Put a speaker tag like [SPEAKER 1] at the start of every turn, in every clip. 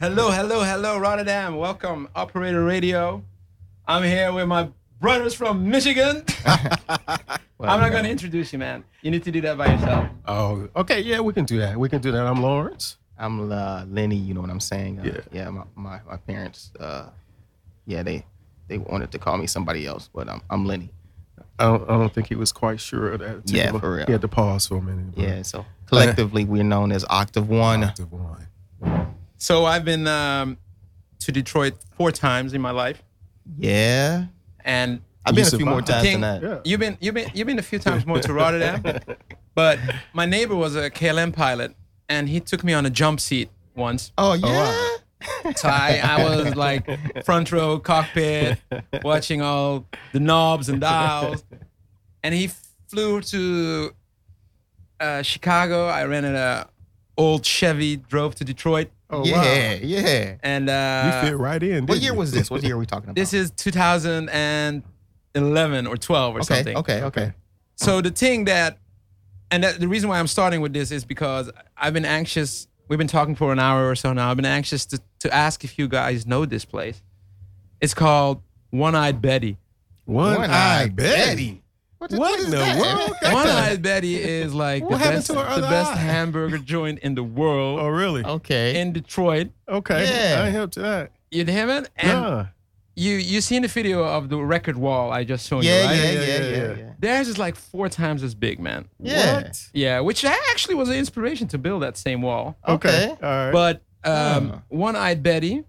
[SPEAKER 1] Hello, hello, hello, Rotterdam. Welcome, Operator Radio. I'm here with my brothers from Michigan. I'm not going to introduce you, man. You need to do that by yourself.
[SPEAKER 2] Oh, okay. Yeah, we can do that. We can do that. I'm Lawrence.
[SPEAKER 3] I'm uh, Lenny. You know what I'm saying? Uh,
[SPEAKER 2] Yeah.
[SPEAKER 3] My, my my parents. Uh, yeah, they they wanted to call me somebody else, but I'm I'm Lenny.
[SPEAKER 2] I don't, I don't think he was quite sure of that.
[SPEAKER 3] Yeah,
[SPEAKER 2] particular-
[SPEAKER 3] for real.
[SPEAKER 2] He had to pause for a minute. but-
[SPEAKER 3] Yeah. So collectively, we're known as Octave One.
[SPEAKER 2] Octave one.
[SPEAKER 1] So I've been um, to Detroit four times in my life,
[SPEAKER 3] Yeah.
[SPEAKER 1] and
[SPEAKER 3] I've been
[SPEAKER 2] You
[SPEAKER 3] a few more
[SPEAKER 2] survived.
[SPEAKER 3] times
[SPEAKER 1] Thing-
[SPEAKER 3] than that.
[SPEAKER 2] Yeah.
[SPEAKER 1] You've been you've been you've been a few times more to Rotterdam, but my neighbor was a KLM pilot, and he took me on a jump seat once.
[SPEAKER 3] Oh yeah.
[SPEAKER 2] wow.
[SPEAKER 1] So I, I was like front row cockpit, watching all the knobs and dials, and he flew to uh, Chicago. I rented a old Chevy, drove to Detroit,
[SPEAKER 2] Oh,
[SPEAKER 3] yeah. Yeah.
[SPEAKER 1] and
[SPEAKER 2] wow.
[SPEAKER 1] uh,
[SPEAKER 2] You fit right in.
[SPEAKER 3] What
[SPEAKER 2] didn't
[SPEAKER 3] year
[SPEAKER 2] you?
[SPEAKER 3] was this? What year are we talking about?
[SPEAKER 1] this is 2011 or 12 or
[SPEAKER 3] okay.
[SPEAKER 1] something.
[SPEAKER 3] Okay. Okay.
[SPEAKER 1] So the thing that, and that, the reason why I'm starting with this is because I've been anxious. We've been talking for an hour or so now. I've been anxious to, to ask if you guys know this place. It's called One Eyed Betty.
[SPEAKER 2] One, eye
[SPEAKER 3] One-eyed
[SPEAKER 2] Betty.
[SPEAKER 3] What,
[SPEAKER 2] What in the world?
[SPEAKER 1] One Eyed Betty is like the
[SPEAKER 2] What happened
[SPEAKER 1] best,
[SPEAKER 2] to her
[SPEAKER 1] the
[SPEAKER 2] other
[SPEAKER 1] best
[SPEAKER 2] eye?
[SPEAKER 1] hamburger joint in the world
[SPEAKER 2] Oh, really?
[SPEAKER 3] Okay.
[SPEAKER 1] in Detroit.
[SPEAKER 2] Okay.
[SPEAKER 3] Yeah.
[SPEAKER 2] I helped that.
[SPEAKER 1] You hear it? And
[SPEAKER 2] Yeah.
[SPEAKER 1] you you seen the video of the record wall I just showed you,
[SPEAKER 3] yeah,
[SPEAKER 1] right?
[SPEAKER 3] yeah,
[SPEAKER 2] Yeah,
[SPEAKER 3] yeah,
[SPEAKER 2] yeah,
[SPEAKER 3] yeah, yeah,
[SPEAKER 2] yeah.
[SPEAKER 1] Theirs is like four times as big, man.
[SPEAKER 3] Yeah.
[SPEAKER 2] What?
[SPEAKER 1] Yeah, which actually was an inspiration to build that same wall.
[SPEAKER 2] Okay. Ah.
[SPEAKER 3] Okay.
[SPEAKER 2] All right.
[SPEAKER 1] But um,
[SPEAKER 3] Huh.
[SPEAKER 1] One Eyed Betty,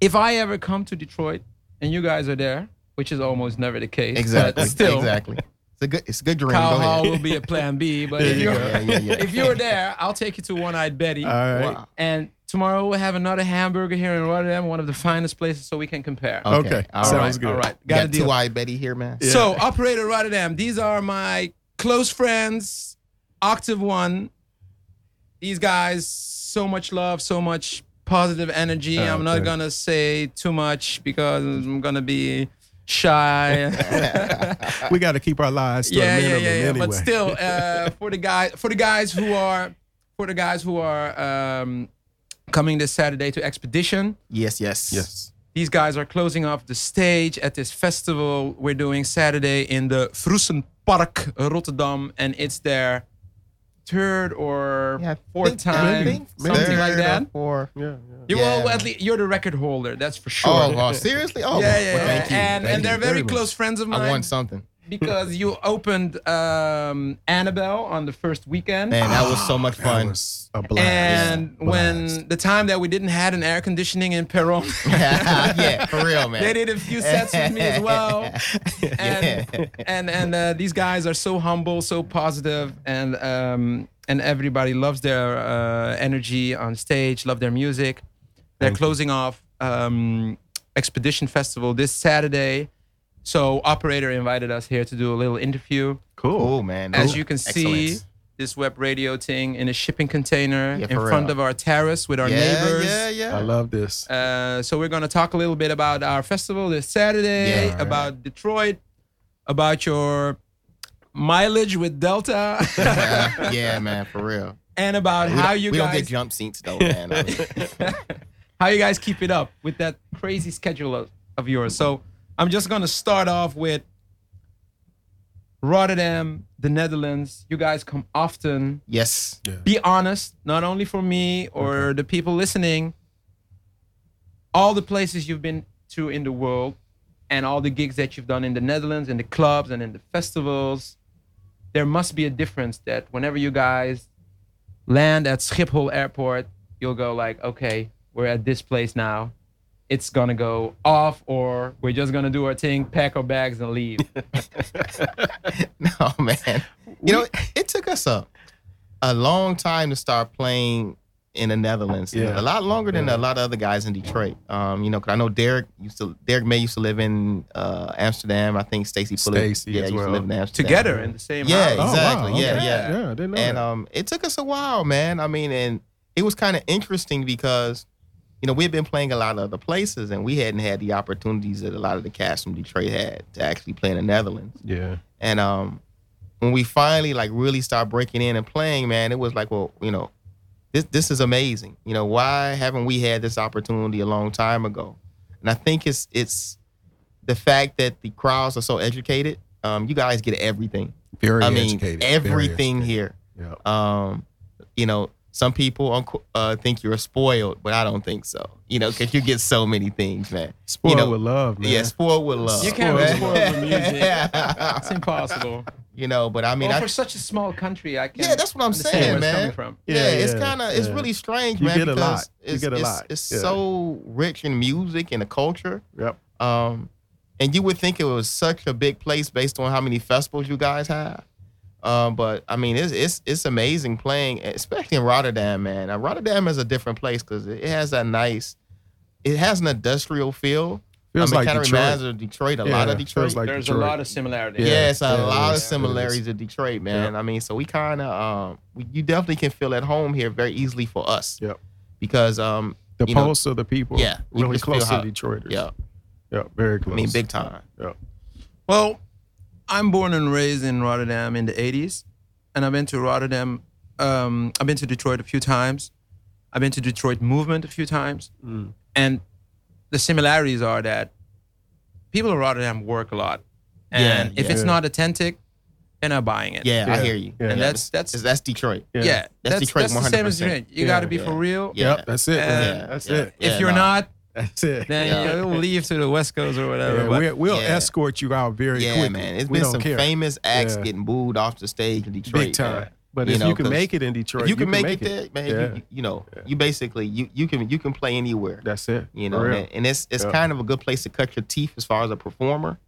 [SPEAKER 1] if I ever come to Detroit and you guys are there, which is almost never the case, but
[SPEAKER 3] Exactly.
[SPEAKER 1] still,
[SPEAKER 3] Exactly. It's a good. It's a good dream.
[SPEAKER 1] Cow
[SPEAKER 3] Go
[SPEAKER 1] Hall will
[SPEAKER 3] ahead.
[SPEAKER 1] be a plan B. But
[SPEAKER 2] There
[SPEAKER 1] if
[SPEAKER 2] you
[SPEAKER 1] you're,
[SPEAKER 2] go.
[SPEAKER 3] Yeah, yeah, yeah.
[SPEAKER 1] if you're there, I'll take you to One Eyed Betty.
[SPEAKER 2] All right.
[SPEAKER 3] Wow.
[SPEAKER 1] And tomorrow we'll have another hamburger here in Rotterdam, one of the finest places, so we can compare.
[SPEAKER 3] Okay.
[SPEAKER 2] Okay.
[SPEAKER 3] All
[SPEAKER 2] Oh, Sounds
[SPEAKER 3] right.
[SPEAKER 2] good.
[SPEAKER 1] All right. Got a
[SPEAKER 3] Got
[SPEAKER 1] deal.
[SPEAKER 3] two eye Betty here, man.
[SPEAKER 2] Yeah.
[SPEAKER 1] So, Operator Rotterdam, these are my close friends, Octave One. These guys, so much love, so much positive energy.
[SPEAKER 2] Oh,
[SPEAKER 1] I'm not
[SPEAKER 2] okay.
[SPEAKER 1] going to say too much because I'm going to be shy.
[SPEAKER 2] we got to keep our lives to
[SPEAKER 1] yeah,
[SPEAKER 2] a
[SPEAKER 1] yeah, yeah,
[SPEAKER 2] minimum
[SPEAKER 1] yeah.
[SPEAKER 2] anyway.
[SPEAKER 1] But still, uh, for the guy, for the guys who are, for the guys who are um, coming this Saturday to Expedition,
[SPEAKER 3] Yes, yes.
[SPEAKER 2] Yes.
[SPEAKER 1] these guys are closing off the stage at this festival we're doing Saturday in the Vroesenpark, Rotterdam, and it's their third or
[SPEAKER 3] Yeah, I
[SPEAKER 1] fourth
[SPEAKER 3] think-
[SPEAKER 1] time,
[SPEAKER 3] I think
[SPEAKER 1] something
[SPEAKER 3] third
[SPEAKER 1] like that.
[SPEAKER 3] Or four.
[SPEAKER 2] Yeah.
[SPEAKER 1] You
[SPEAKER 3] yeah.
[SPEAKER 1] well, at least you're the record holder, that's for sure.
[SPEAKER 3] Oh, wow. seriously? Oh,
[SPEAKER 1] yeah, yeah,
[SPEAKER 3] well,
[SPEAKER 1] yeah.
[SPEAKER 3] thank you.
[SPEAKER 1] and
[SPEAKER 3] Thank
[SPEAKER 1] and they're
[SPEAKER 3] you.
[SPEAKER 1] very
[SPEAKER 2] very much.
[SPEAKER 1] close friends of
[SPEAKER 3] I
[SPEAKER 1] mine
[SPEAKER 3] won something.
[SPEAKER 1] because you opened um, Annabelle on the first weekend.
[SPEAKER 3] Man, that was so much
[SPEAKER 2] That
[SPEAKER 3] fun.
[SPEAKER 2] was a blast.
[SPEAKER 1] and
[SPEAKER 2] Blast.
[SPEAKER 1] when the time that we didn't had an air conditioning in Peron,
[SPEAKER 3] yeah, for real, man.
[SPEAKER 1] they did a few sets with me as well. and and and uh, these guys are so humble, so positive, and um, and everybody loves their uh, energy on stage, love their music. They're closing off um, Expedition Festival this Saturday, so operator invited us here to do a little interview.
[SPEAKER 2] cool.
[SPEAKER 3] Cool, Oh, man.
[SPEAKER 1] As
[SPEAKER 3] Cool.
[SPEAKER 1] you can see.
[SPEAKER 3] Excellent.
[SPEAKER 1] This web radio thing in a shipping container
[SPEAKER 3] Yeah,
[SPEAKER 1] in
[SPEAKER 3] for
[SPEAKER 1] front
[SPEAKER 3] real.
[SPEAKER 1] of our terrace with our
[SPEAKER 3] yeah,
[SPEAKER 1] neighbors.
[SPEAKER 3] yeah, yeah.
[SPEAKER 2] I love this.
[SPEAKER 1] Uh, so we're going to talk a little bit about our festival this Saturday,
[SPEAKER 3] Yeah, all
[SPEAKER 1] about Detroit, about your mileage with Delta,
[SPEAKER 3] yeah, yeah, man, for real.
[SPEAKER 1] and about
[SPEAKER 3] We
[SPEAKER 1] how
[SPEAKER 3] don't-
[SPEAKER 1] you
[SPEAKER 3] we don't get
[SPEAKER 1] guys
[SPEAKER 3] jump seats though, man. I mean,
[SPEAKER 1] how you guys keep it up with that crazy schedule of, of yours. So I'm just going to start off with Rotterdam, the Netherlands. You guys come often.
[SPEAKER 3] yes.
[SPEAKER 2] Yeah.
[SPEAKER 1] Be honest, not only for me or the people listening, all the places you've been to in the world and all the gigs that you've done in the Netherlands and the clubs and in the festivals, there must be a difference that whenever you guys land at Schiphol Airport, you'll go like, okay, we're at this place now. It's gonna go off, or we're just gonna do our thing, pack our bags, and leave.
[SPEAKER 3] No, man. You know, it took us a a long time to start playing in the Netherlands.
[SPEAKER 2] Yeah.
[SPEAKER 3] A lot longer than
[SPEAKER 2] Yeah.
[SPEAKER 3] a lot of other guys in Detroit. Um, you know, cause I know Derek used to Derek May used to live in uh, Amsterdam. I think Stacy Pulley.
[SPEAKER 2] Stacey
[SPEAKER 3] Yeah,
[SPEAKER 2] as
[SPEAKER 3] used to
[SPEAKER 2] well.
[SPEAKER 3] live in Amsterdam.
[SPEAKER 1] Together in the same
[SPEAKER 3] Yeah,
[SPEAKER 1] house.
[SPEAKER 3] exactly. Yeah,
[SPEAKER 2] Oh, okay.
[SPEAKER 3] yeah.
[SPEAKER 2] I didn't know
[SPEAKER 3] and
[SPEAKER 2] that.
[SPEAKER 3] um, it took us a while, man. I mean, and it was kind of interesting because, you know, we had been playing a lot of other places, and we hadn't had the opportunities that a lot of the cast from Detroit had to actually play in the Netherlands.
[SPEAKER 2] yeah.
[SPEAKER 3] And um, when we finally like really started breaking in and playing, man, it was like, well, you know, this this is amazing. You know, why haven't we had this opportunity a long time ago? And I think it's it's the fact that the crowds are so educated. Um, you guys get everything.
[SPEAKER 2] Very
[SPEAKER 3] I mean,
[SPEAKER 2] educated. very
[SPEAKER 3] everything
[SPEAKER 2] educated.
[SPEAKER 3] here.
[SPEAKER 2] Yeah.
[SPEAKER 3] Um, you know, some people unqu- uh, think you're spoiled, but I don't think so. You know, because you get so many things, man.
[SPEAKER 2] Spoiled
[SPEAKER 3] know,
[SPEAKER 2] with love, man.
[SPEAKER 3] Yeah, spoiled with love.
[SPEAKER 1] You can't be
[SPEAKER 3] man.
[SPEAKER 1] spoiled with music.
[SPEAKER 3] Yeah.
[SPEAKER 1] It's impossible.
[SPEAKER 3] You know, but I mean,
[SPEAKER 1] well,
[SPEAKER 3] I,
[SPEAKER 1] for such a small country, I can
[SPEAKER 3] yeah, that's what I'm
[SPEAKER 1] understand
[SPEAKER 3] saying,
[SPEAKER 1] where it's
[SPEAKER 3] man.
[SPEAKER 1] coming from.
[SPEAKER 3] Yeah, it's
[SPEAKER 2] yeah,
[SPEAKER 3] kind of it's
[SPEAKER 2] yeah.
[SPEAKER 3] really strange,
[SPEAKER 2] You
[SPEAKER 3] man.
[SPEAKER 2] get a
[SPEAKER 3] because
[SPEAKER 2] lot. You
[SPEAKER 3] it's,
[SPEAKER 2] get a
[SPEAKER 3] it's,
[SPEAKER 2] lot.
[SPEAKER 3] It's
[SPEAKER 2] Yeah.
[SPEAKER 3] so rich in music and the culture.
[SPEAKER 2] Yep.
[SPEAKER 3] Um, and you would think it was such a big place based on how many festivals you guys have. Um, but I mean, it's it's it's amazing playing, especially in Rotterdam, man. Now, Rotterdam is a different place because it has that nice, it has an industrial feel.
[SPEAKER 2] Feels
[SPEAKER 3] I
[SPEAKER 2] like
[SPEAKER 3] mean, kind of
[SPEAKER 2] Detroit.
[SPEAKER 3] reminds of Detroit, a lot
[SPEAKER 2] Yeah,
[SPEAKER 3] of
[SPEAKER 2] feels
[SPEAKER 3] Detroit.
[SPEAKER 2] like
[SPEAKER 1] There's
[SPEAKER 2] Detroit.
[SPEAKER 1] a lot of similarities.
[SPEAKER 2] Yeah.
[SPEAKER 3] Yeah, it's a
[SPEAKER 2] yeah,
[SPEAKER 3] lot
[SPEAKER 2] it
[SPEAKER 3] of
[SPEAKER 2] is.
[SPEAKER 3] similarities to Detroit, man. I mean, so we kind of, um, we, you definitely can feel at home here very easily for us.
[SPEAKER 2] Yep.
[SPEAKER 3] Because, um,
[SPEAKER 2] the
[SPEAKER 3] you know,
[SPEAKER 2] pulse of the people.
[SPEAKER 3] yeah, you
[SPEAKER 2] Really
[SPEAKER 3] just feel
[SPEAKER 2] close to
[SPEAKER 3] how-
[SPEAKER 2] Detroiters.
[SPEAKER 3] yeah,
[SPEAKER 2] Yeah. Very close.
[SPEAKER 3] I mean, big time.
[SPEAKER 2] Yeah.
[SPEAKER 1] Well, I'm born and raised in Rotterdam in the 80s, and I've been to Rotterdam. Um, I've been to Detroit a few times. I've been to Detroit Movement a few times,
[SPEAKER 2] Mm.
[SPEAKER 1] and the similarities are that people in Rotterdam work a lot,
[SPEAKER 3] Yeah,
[SPEAKER 1] and if
[SPEAKER 3] yeah.
[SPEAKER 1] it's not authentic, they're not buying it.
[SPEAKER 3] Yeah, I
[SPEAKER 2] Yeah,
[SPEAKER 3] hear you.
[SPEAKER 2] yeah.
[SPEAKER 3] Yeah,
[SPEAKER 1] And that's- that's-
[SPEAKER 3] it's- that's Detroit.
[SPEAKER 1] yeah, that's, that's,
[SPEAKER 3] Detroit
[SPEAKER 1] the same as
[SPEAKER 3] 100%.
[SPEAKER 1] Detroit. You
[SPEAKER 2] Yeah,
[SPEAKER 1] got to be
[SPEAKER 3] yeah.
[SPEAKER 1] for real.
[SPEAKER 3] Yeah.
[SPEAKER 2] Yep. That's it.
[SPEAKER 1] Uh,
[SPEAKER 2] man.
[SPEAKER 3] yeah,
[SPEAKER 2] that's
[SPEAKER 3] yeah.
[SPEAKER 2] it.
[SPEAKER 1] If
[SPEAKER 3] Yeah,
[SPEAKER 1] you're
[SPEAKER 3] nah.
[SPEAKER 1] not,
[SPEAKER 2] That's it.
[SPEAKER 1] then
[SPEAKER 3] Yeah.
[SPEAKER 1] you'll leave to the West Coast or whatever.
[SPEAKER 2] Yeah,
[SPEAKER 1] but-
[SPEAKER 2] we, will
[SPEAKER 3] Yeah.
[SPEAKER 2] escort you out very
[SPEAKER 3] Yeah,
[SPEAKER 2] quickly.
[SPEAKER 3] man. It's
[SPEAKER 2] We
[SPEAKER 3] been
[SPEAKER 2] don't
[SPEAKER 3] some
[SPEAKER 2] care.
[SPEAKER 3] famous acts
[SPEAKER 2] Yeah.
[SPEAKER 3] getting booed off the stage in Detroit.
[SPEAKER 2] big time.
[SPEAKER 3] man.
[SPEAKER 2] But
[SPEAKER 3] You
[SPEAKER 2] if
[SPEAKER 3] know,
[SPEAKER 2] you can
[SPEAKER 3] 'cause
[SPEAKER 2] make it in Detroit,
[SPEAKER 3] If you can make, it there, man,
[SPEAKER 2] Yeah.
[SPEAKER 3] you, you, you know,
[SPEAKER 2] Yeah.
[SPEAKER 3] you basically you you can you can play anywhere.
[SPEAKER 2] That's it.
[SPEAKER 3] you
[SPEAKER 2] For
[SPEAKER 3] know
[SPEAKER 2] real.
[SPEAKER 3] and, and it's it's
[SPEAKER 2] Yeah.
[SPEAKER 3] kind of a good place to cut your teeth as far as a performer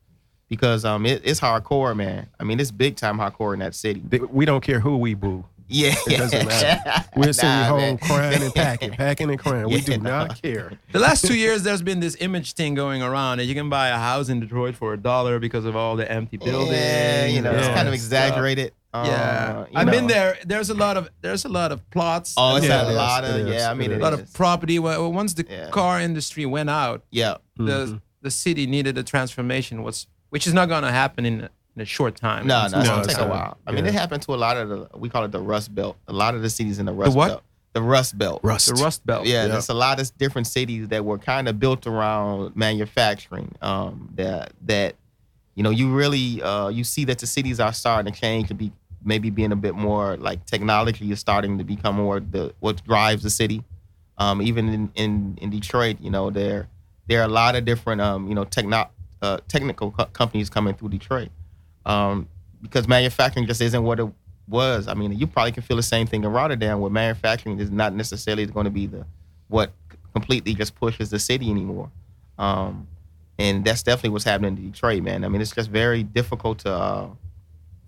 [SPEAKER 3] because um it, it's hardcore man i mean it's big time hardcore in that city
[SPEAKER 2] They- we don't care who we boo.
[SPEAKER 3] yeah
[SPEAKER 2] It doesn't matter. We're sitting
[SPEAKER 3] Nah,
[SPEAKER 2] home
[SPEAKER 3] man.
[SPEAKER 2] crying and packing, packing and crying. we do
[SPEAKER 3] Yeah, nah.
[SPEAKER 2] not care.
[SPEAKER 1] The last two years, there's been this image thing going around that you can buy a house in Detroit for a dollar because of all the empty buildings.
[SPEAKER 3] yeah you know it's
[SPEAKER 2] Yeah.
[SPEAKER 1] and
[SPEAKER 3] kind of exaggerated
[SPEAKER 1] stuff.
[SPEAKER 3] uh,
[SPEAKER 1] yeah,
[SPEAKER 3] you
[SPEAKER 1] I've been
[SPEAKER 3] know.
[SPEAKER 1] there. There's a lot of there's a lot of plots.
[SPEAKER 3] oh it's
[SPEAKER 1] a
[SPEAKER 2] Yeah,
[SPEAKER 3] had a
[SPEAKER 2] it
[SPEAKER 3] lot
[SPEAKER 2] is,
[SPEAKER 3] of
[SPEAKER 2] it is,
[SPEAKER 3] yeah i mean
[SPEAKER 2] it is.
[SPEAKER 3] it is.
[SPEAKER 1] lot of property. Well, once the
[SPEAKER 3] Yeah.
[SPEAKER 1] car industry went out,
[SPEAKER 3] yeah
[SPEAKER 2] Mhm.
[SPEAKER 1] the the city needed a transformation. Was which is not going to happen in a, in a short time.
[SPEAKER 3] no no it's
[SPEAKER 2] No,
[SPEAKER 3] gonna
[SPEAKER 2] it's
[SPEAKER 3] take a
[SPEAKER 2] not.
[SPEAKER 3] while i mean
[SPEAKER 2] Yeah.
[SPEAKER 3] it happened to a lot of the we call it the rust belt a lot of the cities in the rust
[SPEAKER 1] what?
[SPEAKER 3] belt the rust belt
[SPEAKER 2] Mm-hmm. Rust.
[SPEAKER 1] the Rust Belt.
[SPEAKER 3] Yeah,
[SPEAKER 2] Yeah.
[SPEAKER 3] there's a lot of different cities that were kind of built around manufacturing. Um, that that you know you really uh, you see that the cities are starting to change to be maybe being a bit more like technology is starting to become more the what drives the city. Um, even in, in in Detroit, you know there there are a lot of different um, you know techno uh, technical co- companies coming through Detroit um, because manufacturing just isn't what it was. I mean, you probably can feel the same thing in Rotterdam, where manufacturing is not necessarily going to be the what completely just pushes the city anymore. Um, and that's definitely what's happening in Detroit, man. I mean, it's just very difficult to uh,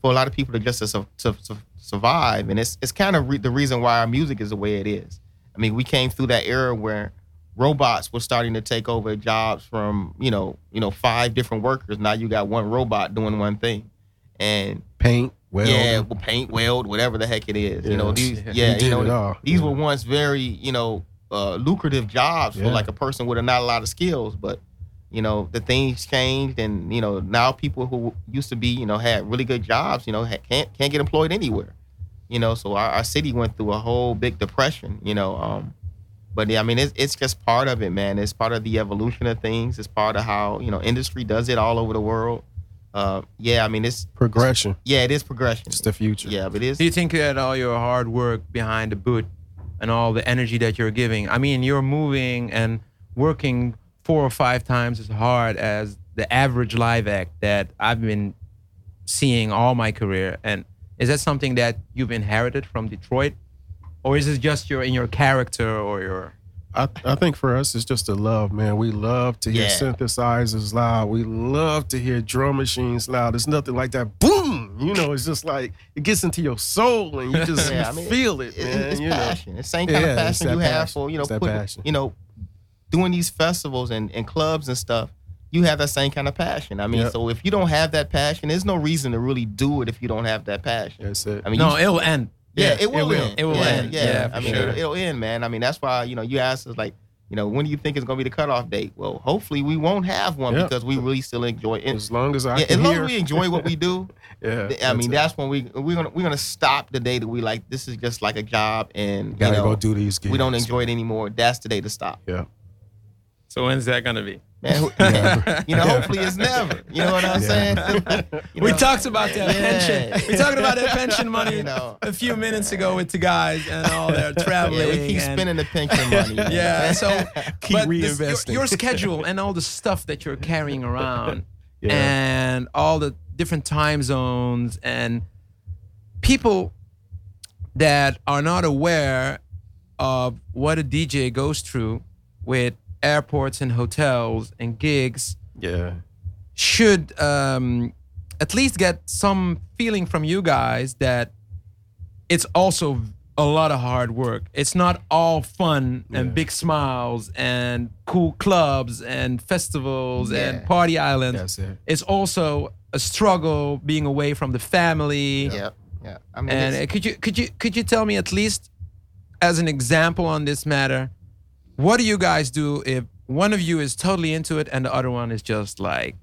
[SPEAKER 3] for a lot of people to just to, su- to, su- survive, and it's it's kind of re- the reason why our music is the way it is. I mean, we came through that era where robots were starting to take over jobs from you know you know five different workers. Now you got one robot doing one thing, and
[SPEAKER 2] Paint, well,
[SPEAKER 3] yeah, well, paint, weld, whatever the heck it is.
[SPEAKER 2] Yeah.
[SPEAKER 3] You know, these
[SPEAKER 1] Yeah.
[SPEAKER 3] yeah,
[SPEAKER 2] did
[SPEAKER 3] you
[SPEAKER 2] it
[SPEAKER 3] know,
[SPEAKER 2] all.
[SPEAKER 3] these
[SPEAKER 2] Yeah.
[SPEAKER 3] were once very you know uh, lucrative jobs
[SPEAKER 2] Yeah.
[SPEAKER 3] for like a person with a, not a lot of skills, but you know the things changed, and you know now people who used to be you know had really good jobs, you know ha- can't can't get employed anywhere. You know, so our, our city went through a whole big depression. You know, um, but yeah, I mean it's it's just part of it, man. It's part of the evolution of things. It's part of how you know industry does it all over the world. Uh, yeah, I mean it's
[SPEAKER 2] progression.
[SPEAKER 3] yeah, it is progression.
[SPEAKER 2] It's the future.
[SPEAKER 3] Yeah, but it's
[SPEAKER 1] Do you think that all your hard work behind the boot and all the energy that you're giving, I mean, you're moving and working four or five times as hard as the average live act that I've been seeing all my career. And is that something that you've inherited from Detroit? Or is it just your in your character or your
[SPEAKER 2] I, I think for us, it's just a love, man. We love to hear
[SPEAKER 3] Yeah.
[SPEAKER 2] synthesizers loud. We love to hear drum machines loud. There's nothing like that. Boom! You know, it's just like it gets into your soul and you just
[SPEAKER 3] Yeah, I mean,
[SPEAKER 2] feel it,
[SPEAKER 3] it-
[SPEAKER 2] man.
[SPEAKER 3] it's
[SPEAKER 2] you know.
[SPEAKER 3] passion. It's the same kind
[SPEAKER 2] Yeah,
[SPEAKER 3] of
[SPEAKER 2] it's
[SPEAKER 3] passion
[SPEAKER 2] that
[SPEAKER 3] you have
[SPEAKER 2] passion.
[SPEAKER 3] for you know,
[SPEAKER 2] It's that
[SPEAKER 3] putting-
[SPEAKER 2] passion.
[SPEAKER 3] you know, doing these festivals and, and clubs and stuff. You have that same kind of passion. I mean,
[SPEAKER 2] Yep.
[SPEAKER 3] so if you don't have that passion, there's no reason to really do it if you don't have that passion.
[SPEAKER 2] That's it.
[SPEAKER 3] I mean,
[SPEAKER 1] No,
[SPEAKER 3] you-
[SPEAKER 1] it'll end.
[SPEAKER 3] yeah,
[SPEAKER 2] yeah,
[SPEAKER 3] it will,
[SPEAKER 2] it will.
[SPEAKER 3] end.
[SPEAKER 1] It will
[SPEAKER 3] yeah,
[SPEAKER 1] end.
[SPEAKER 3] Yeah,
[SPEAKER 1] Yeah,
[SPEAKER 3] I
[SPEAKER 1] for
[SPEAKER 3] mean,
[SPEAKER 1] sure.
[SPEAKER 3] it'll, it'll end, man. I mean, that's why you know you asked us like, You know, when do you think is going to be the cutoff date? Well, hopefully we won't have one
[SPEAKER 2] Yeah.
[SPEAKER 3] because we really still enjoy it.
[SPEAKER 2] As long as I
[SPEAKER 3] Yeah, as
[SPEAKER 2] can
[SPEAKER 3] long
[SPEAKER 2] hear.
[SPEAKER 3] as we enjoy what we do,
[SPEAKER 2] yeah,
[SPEAKER 3] th- I mean,
[SPEAKER 2] it.
[SPEAKER 3] that's when we we're gonna we're gonna stop the day that we like this is just like a job and you
[SPEAKER 2] gotta
[SPEAKER 3] know,
[SPEAKER 2] go do these gigs.
[SPEAKER 3] we don't enjoy it anymore. That's the day to stop.
[SPEAKER 1] So when's that gonna be?
[SPEAKER 3] Man, who-
[SPEAKER 2] Never.
[SPEAKER 3] you know,
[SPEAKER 2] Yeah.
[SPEAKER 3] hopefully it's never. You know what I'm
[SPEAKER 2] Yeah.
[SPEAKER 3] saying? You
[SPEAKER 1] we
[SPEAKER 3] know?
[SPEAKER 1] talked about that
[SPEAKER 3] Yeah.
[SPEAKER 1] pension. We talked about that pension money
[SPEAKER 3] You know.
[SPEAKER 1] a few minutes ago with the guys and all their traveling.
[SPEAKER 3] Yeah, we keep
[SPEAKER 1] and-
[SPEAKER 3] spending the pension money. man.
[SPEAKER 1] Yeah, so
[SPEAKER 2] Keep
[SPEAKER 1] but this- your-
[SPEAKER 2] reinvesting.
[SPEAKER 1] your, schedule and all the stuff that you're carrying around
[SPEAKER 2] Yeah.
[SPEAKER 1] and all the different time zones and people that are not aware of what a DJ goes through with airports and hotels and gigs
[SPEAKER 2] Yeah,
[SPEAKER 1] should um, at least get some feeling from you guys that it's also a lot of hard work. It's not all fun and
[SPEAKER 2] Yeah.
[SPEAKER 1] big smiles and cool clubs and festivals and
[SPEAKER 3] Yeah.
[SPEAKER 1] party islands.
[SPEAKER 2] that's it.
[SPEAKER 1] It's also a struggle being away from the family.
[SPEAKER 3] yeah, yeah. I mean,
[SPEAKER 1] And
[SPEAKER 3] it's-
[SPEAKER 1] uh, could you could you could you tell me at least as an example on this matter, what do you guys do if one of you is totally into it and the other one is just like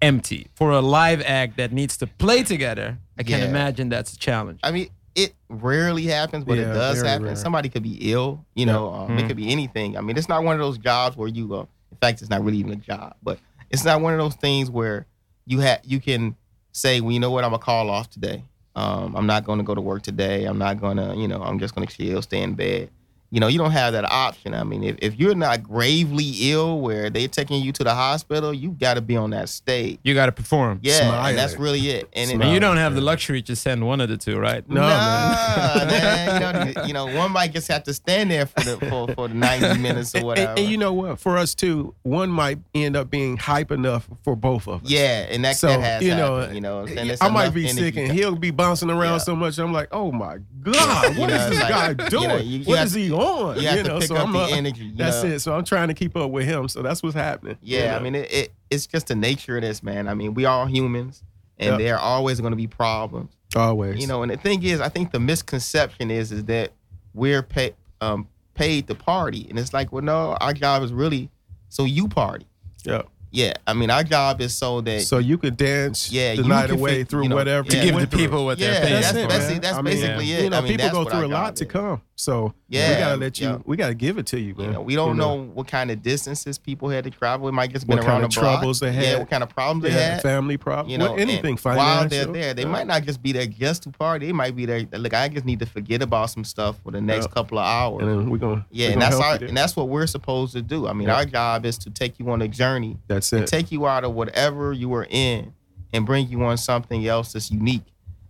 [SPEAKER 1] empty for a live act that needs to play together? I can
[SPEAKER 3] Yeah.
[SPEAKER 1] imagine that's a challenge.
[SPEAKER 3] I mean, it rarely happens, but
[SPEAKER 2] Yeah,
[SPEAKER 3] it does
[SPEAKER 2] very
[SPEAKER 3] happen.
[SPEAKER 2] rare. Mm-hmm.
[SPEAKER 3] Somebody could be ill, you know, um,
[SPEAKER 1] Mhm.
[SPEAKER 3] it could be anything. I mean, it's not one of those jobs where you, uh, in fact, it's not really even a job, but it's not one of those things where you have you can say, well, you know what, I'm gonna call off today. Um, I'm not gonna go to work today. I'm not gonna, you know, I'm just gonna chill, stay in bed. You know, you don't have that option. I mean, if, if you're not gravely ill where they're taking you to the hospital, you gotta be on that stage.
[SPEAKER 1] You got to perform.
[SPEAKER 3] Yeah,
[SPEAKER 2] Smiling.
[SPEAKER 3] and that's really it. And
[SPEAKER 2] Smiling.
[SPEAKER 3] it,
[SPEAKER 1] And you don't have the luxury to send one of the two, right?
[SPEAKER 2] No, man.
[SPEAKER 3] man. You, know, you know, one might just have to stand there for the for, for the ninety minutes or
[SPEAKER 2] And,
[SPEAKER 3] whatever.
[SPEAKER 2] and- and you know what? For us too, one might end up being hype enough for both of us.
[SPEAKER 3] yeah, and that,
[SPEAKER 2] So,
[SPEAKER 3] that has
[SPEAKER 2] you
[SPEAKER 3] you
[SPEAKER 2] know,
[SPEAKER 3] know, you know, what I'm saying? It's
[SPEAKER 2] I might
[SPEAKER 3] enough
[SPEAKER 2] be
[SPEAKER 3] energy
[SPEAKER 2] sick, and
[SPEAKER 3] to-
[SPEAKER 2] he'll be bouncing around
[SPEAKER 3] Yeah.
[SPEAKER 2] so much. I'm like, oh my god,
[SPEAKER 3] You
[SPEAKER 2] what is
[SPEAKER 3] know,
[SPEAKER 2] this
[SPEAKER 3] like,
[SPEAKER 2] guy
[SPEAKER 3] you
[SPEAKER 2] doing?
[SPEAKER 3] know, you- you
[SPEAKER 2] what
[SPEAKER 3] have
[SPEAKER 2] is he on?
[SPEAKER 3] You have to pick
[SPEAKER 2] so
[SPEAKER 3] up
[SPEAKER 2] I'm
[SPEAKER 3] the
[SPEAKER 2] up-
[SPEAKER 3] energy. you
[SPEAKER 2] That's
[SPEAKER 3] know?
[SPEAKER 2] it. So I'm trying to keep up with him. So that's what's happening.
[SPEAKER 3] Yeah, I mean, it, it it's just the nature of this, man. I mean, we are humans, and
[SPEAKER 2] Yeah.
[SPEAKER 3] there are always going to be problems.
[SPEAKER 2] always.
[SPEAKER 3] You know, and the thing is, I think the misconception is is that we're pay, um, paid to party, and it's like, well, no, our job is really so you party.
[SPEAKER 2] Yeah.
[SPEAKER 3] Yeah, I mean, our job is so that
[SPEAKER 2] so you could dance
[SPEAKER 3] Yeah,
[SPEAKER 2] the
[SPEAKER 3] you
[SPEAKER 2] night
[SPEAKER 3] can
[SPEAKER 2] away
[SPEAKER 3] fit-
[SPEAKER 2] through
[SPEAKER 3] you know,
[SPEAKER 2] whatever.
[SPEAKER 3] to
[SPEAKER 2] you
[SPEAKER 3] give
[SPEAKER 2] went through.
[SPEAKER 1] what
[SPEAKER 3] Yeah,
[SPEAKER 2] That's,
[SPEAKER 3] That's
[SPEAKER 2] it,
[SPEAKER 3] that's
[SPEAKER 2] man.
[SPEAKER 3] it. That's
[SPEAKER 2] I mean,
[SPEAKER 3] basically it.
[SPEAKER 2] You know,
[SPEAKER 3] I mean, that's
[SPEAKER 2] people go
[SPEAKER 3] what I
[SPEAKER 2] through a
[SPEAKER 3] got
[SPEAKER 2] lot to
[SPEAKER 3] it.
[SPEAKER 2] come. So we
[SPEAKER 3] Yeah,
[SPEAKER 2] gotta let you.
[SPEAKER 3] yeah.
[SPEAKER 2] We gotta give it to you, man.
[SPEAKER 3] You know, we don't know, what kind of distances people had to travel. It might just been
[SPEAKER 2] What
[SPEAKER 3] around
[SPEAKER 2] kind of
[SPEAKER 3] the block.
[SPEAKER 2] troubles they
[SPEAKER 3] Yeah,
[SPEAKER 2] had.
[SPEAKER 3] what kind of problems
[SPEAKER 2] They
[SPEAKER 3] they
[SPEAKER 2] had
[SPEAKER 3] had.
[SPEAKER 2] a family problem.
[SPEAKER 3] you know,
[SPEAKER 2] well, anything
[SPEAKER 3] and while they're
[SPEAKER 2] financial.
[SPEAKER 3] there, they
[SPEAKER 2] Yeah.
[SPEAKER 3] might not just be there just to party. They might be there. Look, I just need to forget about some stuff for the next
[SPEAKER 2] Yeah.
[SPEAKER 3] couple of hours.
[SPEAKER 2] And then we're gonna.
[SPEAKER 3] yeah,
[SPEAKER 2] we're
[SPEAKER 3] and
[SPEAKER 2] gonna
[SPEAKER 3] that's
[SPEAKER 2] help
[SPEAKER 3] our,
[SPEAKER 2] you there.
[SPEAKER 3] and that's what we're supposed to do. I mean,
[SPEAKER 2] Yeah.
[SPEAKER 3] our job is to take you on a journey,
[SPEAKER 2] that's it.
[SPEAKER 3] take you out of whatever you were in, and bring you on something else that's unique,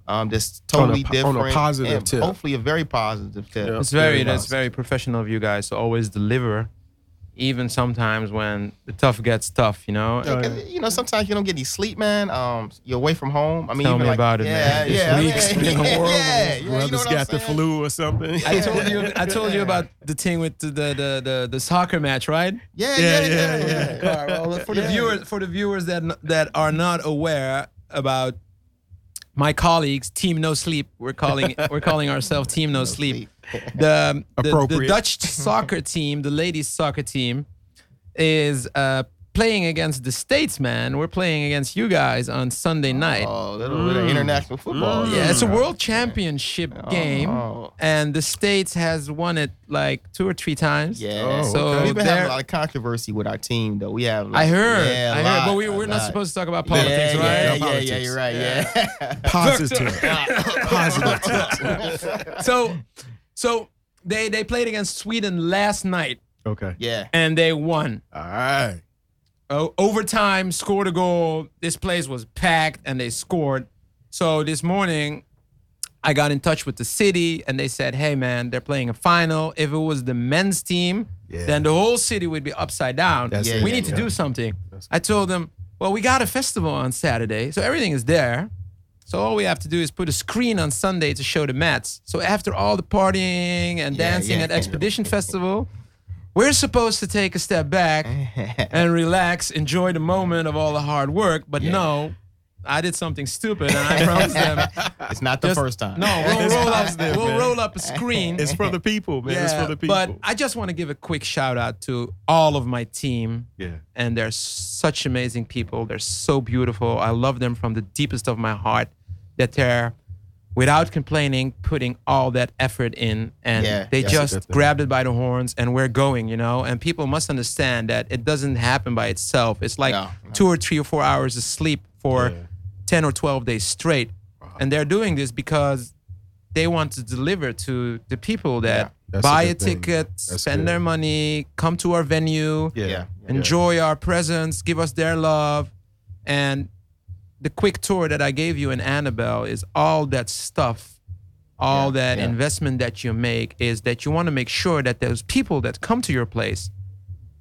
[SPEAKER 3] um, that's
[SPEAKER 2] On a
[SPEAKER 3] totally
[SPEAKER 2] po- on a
[SPEAKER 3] different,
[SPEAKER 2] positive
[SPEAKER 3] and
[SPEAKER 2] tip.
[SPEAKER 3] hopefully a very positive tip.
[SPEAKER 2] Yeah.
[SPEAKER 1] It's very
[SPEAKER 2] Very
[SPEAKER 1] that's
[SPEAKER 2] honest.
[SPEAKER 1] very professional of you guys to always deliver even sometimes when the tough gets tough, you know?
[SPEAKER 2] Oh,
[SPEAKER 3] Yeah, 'cause,
[SPEAKER 2] yeah.
[SPEAKER 3] You know, sometimes you don't get any sleep, man. Um, you're away from home. I mean,
[SPEAKER 1] Tell
[SPEAKER 3] even
[SPEAKER 1] me
[SPEAKER 3] like,
[SPEAKER 1] about it,
[SPEAKER 3] yeah,
[SPEAKER 1] man. This
[SPEAKER 3] Yeah, I mean,
[SPEAKER 1] week's
[SPEAKER 3] yeah,
[SPEAKER 1] been
[SPEAKER 3] yeah,
[SPEAKER 1] horrible.
[SPEAKER 3] yeah, you know
[SPEAKER 2] Brothers
[SPEAKER 3] what I'm
[SPEAKER 2] got the
[SPEAKER 3] saying?
[SPEAKER 2] flu or something.
[SPEAKER 1] I told you I told you about the thing with the the the, the, the soccer match, right?
[SPEAKER 3] Yeah,
[SPEAKER 2] Yeah,
[SPEAKER 3] yeah,
[SPEAKER 2] yeah,
[SPEAKER 3] yeah.
[SPEAKER 2] yeah.
[SPEAKER 1] All right, well, for the
[SPEAKER 3] Yeah.
[SPEAKER 1] viewers for the viewers that n- that are not aware about my colleagues, Team No Sleep, we're calling we're calling ourselves Team No, Sleep. The, the the
[SPEAKER 2] Appropriate.
[SPEAKER 1] Dutch soccer team, the ladies soccer team, is uh, playing against the Statesman. We're playing against you guys on Sunday night.
[SPEAKER 3] Oh, little, little
[SPEAKER 2] Mm.
[SPEAKER 3] international football.
[SPEAKER 2] Mm.
[SPEAKER 1] Yeah, it's a world championship
[SPEAKER 3] Oh,
[SPEAKER 1] game,
[SPEAKER 3] oh.
[SPEAKER 1] and the states has won it like two or three times.
[SPEAKER 3] Yeah.
[SPEAKER 2] Oh,
[SPEAKER 3] so
[SPEAKER 1] So
[SPEAKER 3] we've been having
[SPEAKER 1] there-
[SPEAKER 3] a lot of controversy with our team, though. We have.
[SPEAKER 1] I
[SPEAKER 3] Like,
[SPEAKER 1] heard.
[SPEAKER 3] Yeah,
[SPEAKER 1] I
[SPEAKER 3] a
[SPEAKER 1] heard.
[SPEAKER 3] lot,
[SPEAKER 1] But we,
[SPEAKER 3] a
[SPEAKER 1] we're not
[SPEAKER 3] lot.
[SPEAKER 1] supposed to talk about
[SPEAKER 3] Yeah,
[SPEAKER 1] politics,
[SPEAKER 3] yeah,
[SPEAKER 1] right?
[SPEAKER 3] Yeah,
[SPEAKER 2] No
[SPEAKER 3] yeah, yeah,
[SPEAKER 2] politics.
[SPEAKER 3] you're right. Yeah.
[SPEAKER 2] positive, positive.
[SPEAKER 1] So, so they they played against Sweden last night
[SPEAKER 2] Okay.
[SPEAKER 3] yeah.
[SPEAKER 1] and they won.
[SPEAKER 2] All right.
[SPEAKER 1] O- Oh, overtime, scored a goal. This place was packed and they scored. So this morning, I got in touch with the city and they said, "Hey man, they're playing a final. If it was the men's team,
[SPEAKER 2] Yeah.
[SPEAKER 1] then the whole city would be upside down.
[SPEAKER 2] That's
[SPEAKER 3] it.
[SPEAKER 1] we
[SPEAKER 3] Yeah,
[SPEAKER 1] need to
[SPEAKER 2] yeah.
[SPEAKER 1] do something."
[SPEAKER 2] That's-
[SPEAKER 1] I told them, "Well, we got a festival on Saturday, so everything is there." So all we have to do is put a screen on Sunday to show the mats. So after all the partying and
[SPEAKER 3] Yeah,
[SPEAKER 1] dancing
[SPEAKER 3] yeah.
[SPEAKER 1] at Expedition Festival, we're supposed to take a step back and relax, enjoy the moment of all the hard work. But
[SPEAKER 3] Yeah.
[SPEAKER 1] no, I did something stupid, and I promised them,
[SPEAKER 3] It's not the
[SPEAKER 1] Just-
[SPEAKER 3] first time.
[SPEAKER 1] no, we'll, roll
[SPEAKER 2] It's
[SPEAKER 1] up,
[SPEAKER 2] positive,
[SPEAKER 1] we'll
[SPEAKER 2] man.
[SPEAKER 1] roll up a screen.
[SPEAKER 2] It's for the people, man. it's for the people.
[SPEAKER 1] But I just want to give a quick shout out to all of my team.
[SPEAKER 2] yeah.
[SPEAKER 1] and they're such amazing people. They're so beautiful. I love them from the deepest of my heart that they're without complaining putting all that effort in and
[SPEAKER 3] Yeah.
[SPEAKER 1] they
[SPEAKER 2] That's a good
[SPEAKER 1] just
[SPEAKER 2] thing.
[SPEAKER 1] grabbed it by the horns and we're going, you know? And people must understand that it doesn't happen by itself. It's like
[SPEAKER 3] No, no.
[SPEAKER 1] two or three or four hours of sleep for
[SPEAKER 2] Yeah.
[SPEAKER 1] 10 or 12 days straight. And they're doing this because they want to deliver to the people that
[SPEAKER 2] That's a
[SPEAKER 1] buy a,
[SPEAKER 2] good thing.
[SPEAKER 1] ticket,
[SPEAKER 2] That's
[SPEAKER 1] spend
[SPEAKER 2] good.
[SPEAKER 1] their money, come to our venue,
[SPEAKER 2] Yeah.
[SPEAKER 3] Yeah.
[SPEAKER 1] enjoy our presence, give us their love. And the quick tour that I gave you in Annabelle is all that stuff, all
[SPEAKER 3] Yeah,
[SPEAKER 1] that
[SPEAKER 3] yeah.
[SPEAKER 1] investment that you make is that you want to make sure that those people that come to your place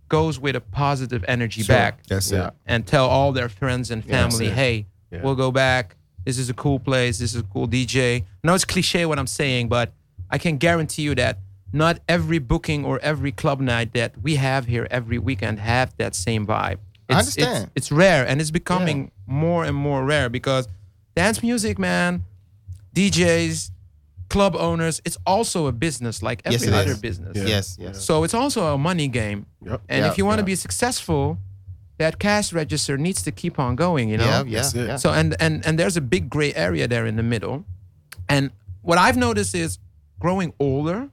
[SPEAKER 1] goes with a positive energy back
[SPEAKER 2] That's
[SPEAKER 3] Yeah.
[SPEAKER 2] it.
[SPEAKER 1] and tell all their friends and
[SPEAKER 2] that's
[SPEAKER 1] family,
[SPEAKER 2] it.
[SPEAKER 1] hey,
[SPEAKER 2] Yeah.
[SPEAKER 1] we'll go back. This is a cool place. This is a cool DJ. I know it's cliche what I'm saying, but I can guarantee you that not every booking or every club night that we have here every weekend have that same vibe. It's,
[SPEAKER 3] I
[SPEAKER 1] it's-
[SPEAKER 3] understand.
[SPEAKER 1] It's, rare and it's becoming more and more rare because dance music, man, DJs, club owners, it's also a business like
[SPEAKER 3] Yes,
[SPEAKER 1] every
[SPEAKER 3] it
[SPEAKER 1] other
[SPEAKER 3] is.
[SPEAKER 1] business.
[SPEAKER 2] Yeah.
[SPEAKER 3] Yes, yes.
[SPEAKER 1] So it's also a money game.
[SPEAKER 2] Yep.
[SPEAKER 1] And
[SPEAKER 3] Yeah,
[SPEAKER 1] if you want to
[SPEAKER 3] yeah.
[SPEAKER 1] be successful, that cash register needs to keep on going, you know?
[SPEAKER 3] Yeah, yeah,
[SPEAKER 2] That's it.
[SPEAKER 3] yeah.
[SPEAKER 1] So and and and there's a big gray area there in the middle. And what I've noticed is growing older,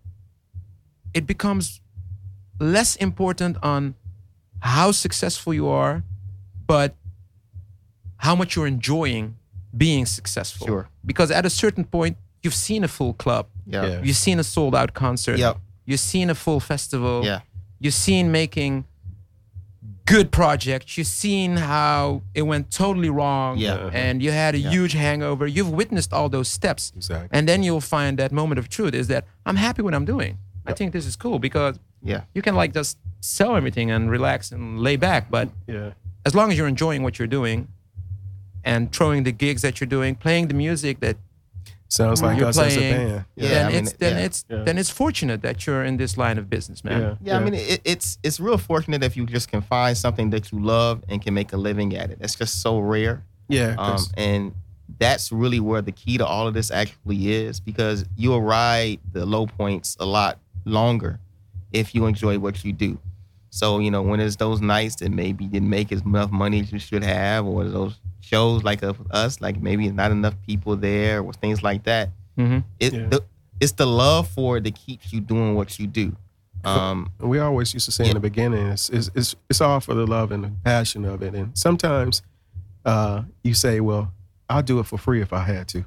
[SPEAKER 1] it becomes less important on how successful you are, but how much you're enjoying being successful.
[SPEAKER 3] Sure.
[SPEAKER 1] Because at a certain point, you've seen a full club.
[SPEAKER 3] Yeah.
[SPEAKER 2] Yeah.
[SPEAKER 1] You've seen a sold out concert.
[SPEAKER 3] Yep.
[SPEAKER 1] You've seen a full festival.
[SPEAKER 3] Yeah.
[SPEAKER 1] You've seen making good projects. You've seen how it went totally wrong.
[SPEAKER 3] Yeah.
[SPEAKER 1] And you had a huge hangover. You've witnessed all those steps.
[SPEAKER 2] Exactly.
[SPEAKER 1] And then you'll find that moment of truth is that I'm happy what I'm doing. I think this is cool because
[SPEAKER 3] Yeah.
[SPEAKER 1] you can like just sell everything and relax and lay back. But
[SPEAKER 2] yeah.
[SPEAKER 1] as long as you're enjoying what you're doing and throwing the gigs that you're doing, playing the music that
[SPEAKER 2] Sounds like
[SPEAKER 1] you're
[SPEAKER 2] us as a
[SPEAKER 1] playing,
[SPEAKER 2] band.
[SPEAKER 3] Yeah,
[SPEAKER 1] then
[SPEAKER 3] I mean,
[SPEAKER 1] it's then
[SPEAKER 3] yeah.
[SPEAKER 1] it's
[SPEAKER 2] Yeah.
[SPEAKER 1] then it's fortunate that you're in this line of business, man.
[SPEAKER 3] Yeah, I mean, it, it's it's real fortunate if you just can find something that you love and can make a living at it. It's just so rare,
[SPEAKER 2] yeah.
[SPEAKER 3] um, and that's really where the key to all of this actually is because you'll ride the low points a lot longer if you enjoy what you do. So you know, when it's those nights that maybe didn't make as much money as you should have, or those shows like of us, like maybe not enough people there, or things like that.
[SPEAKER 1] Mhm.
[SPEAKER 3] It
[SPEAKER 2] Yeah.
[SPEAKER 3] the, it's the love for it that keeps you doing what you do. Um,
[SPEAKER 2] we always used to say in
[SPEAKER 3] Yeah.
[SPEAKER 2] the beginning, it's, it's, it's, it's all for the love and the passion of it. And sometimes uh, you say, well, I'll do it for free if I had to.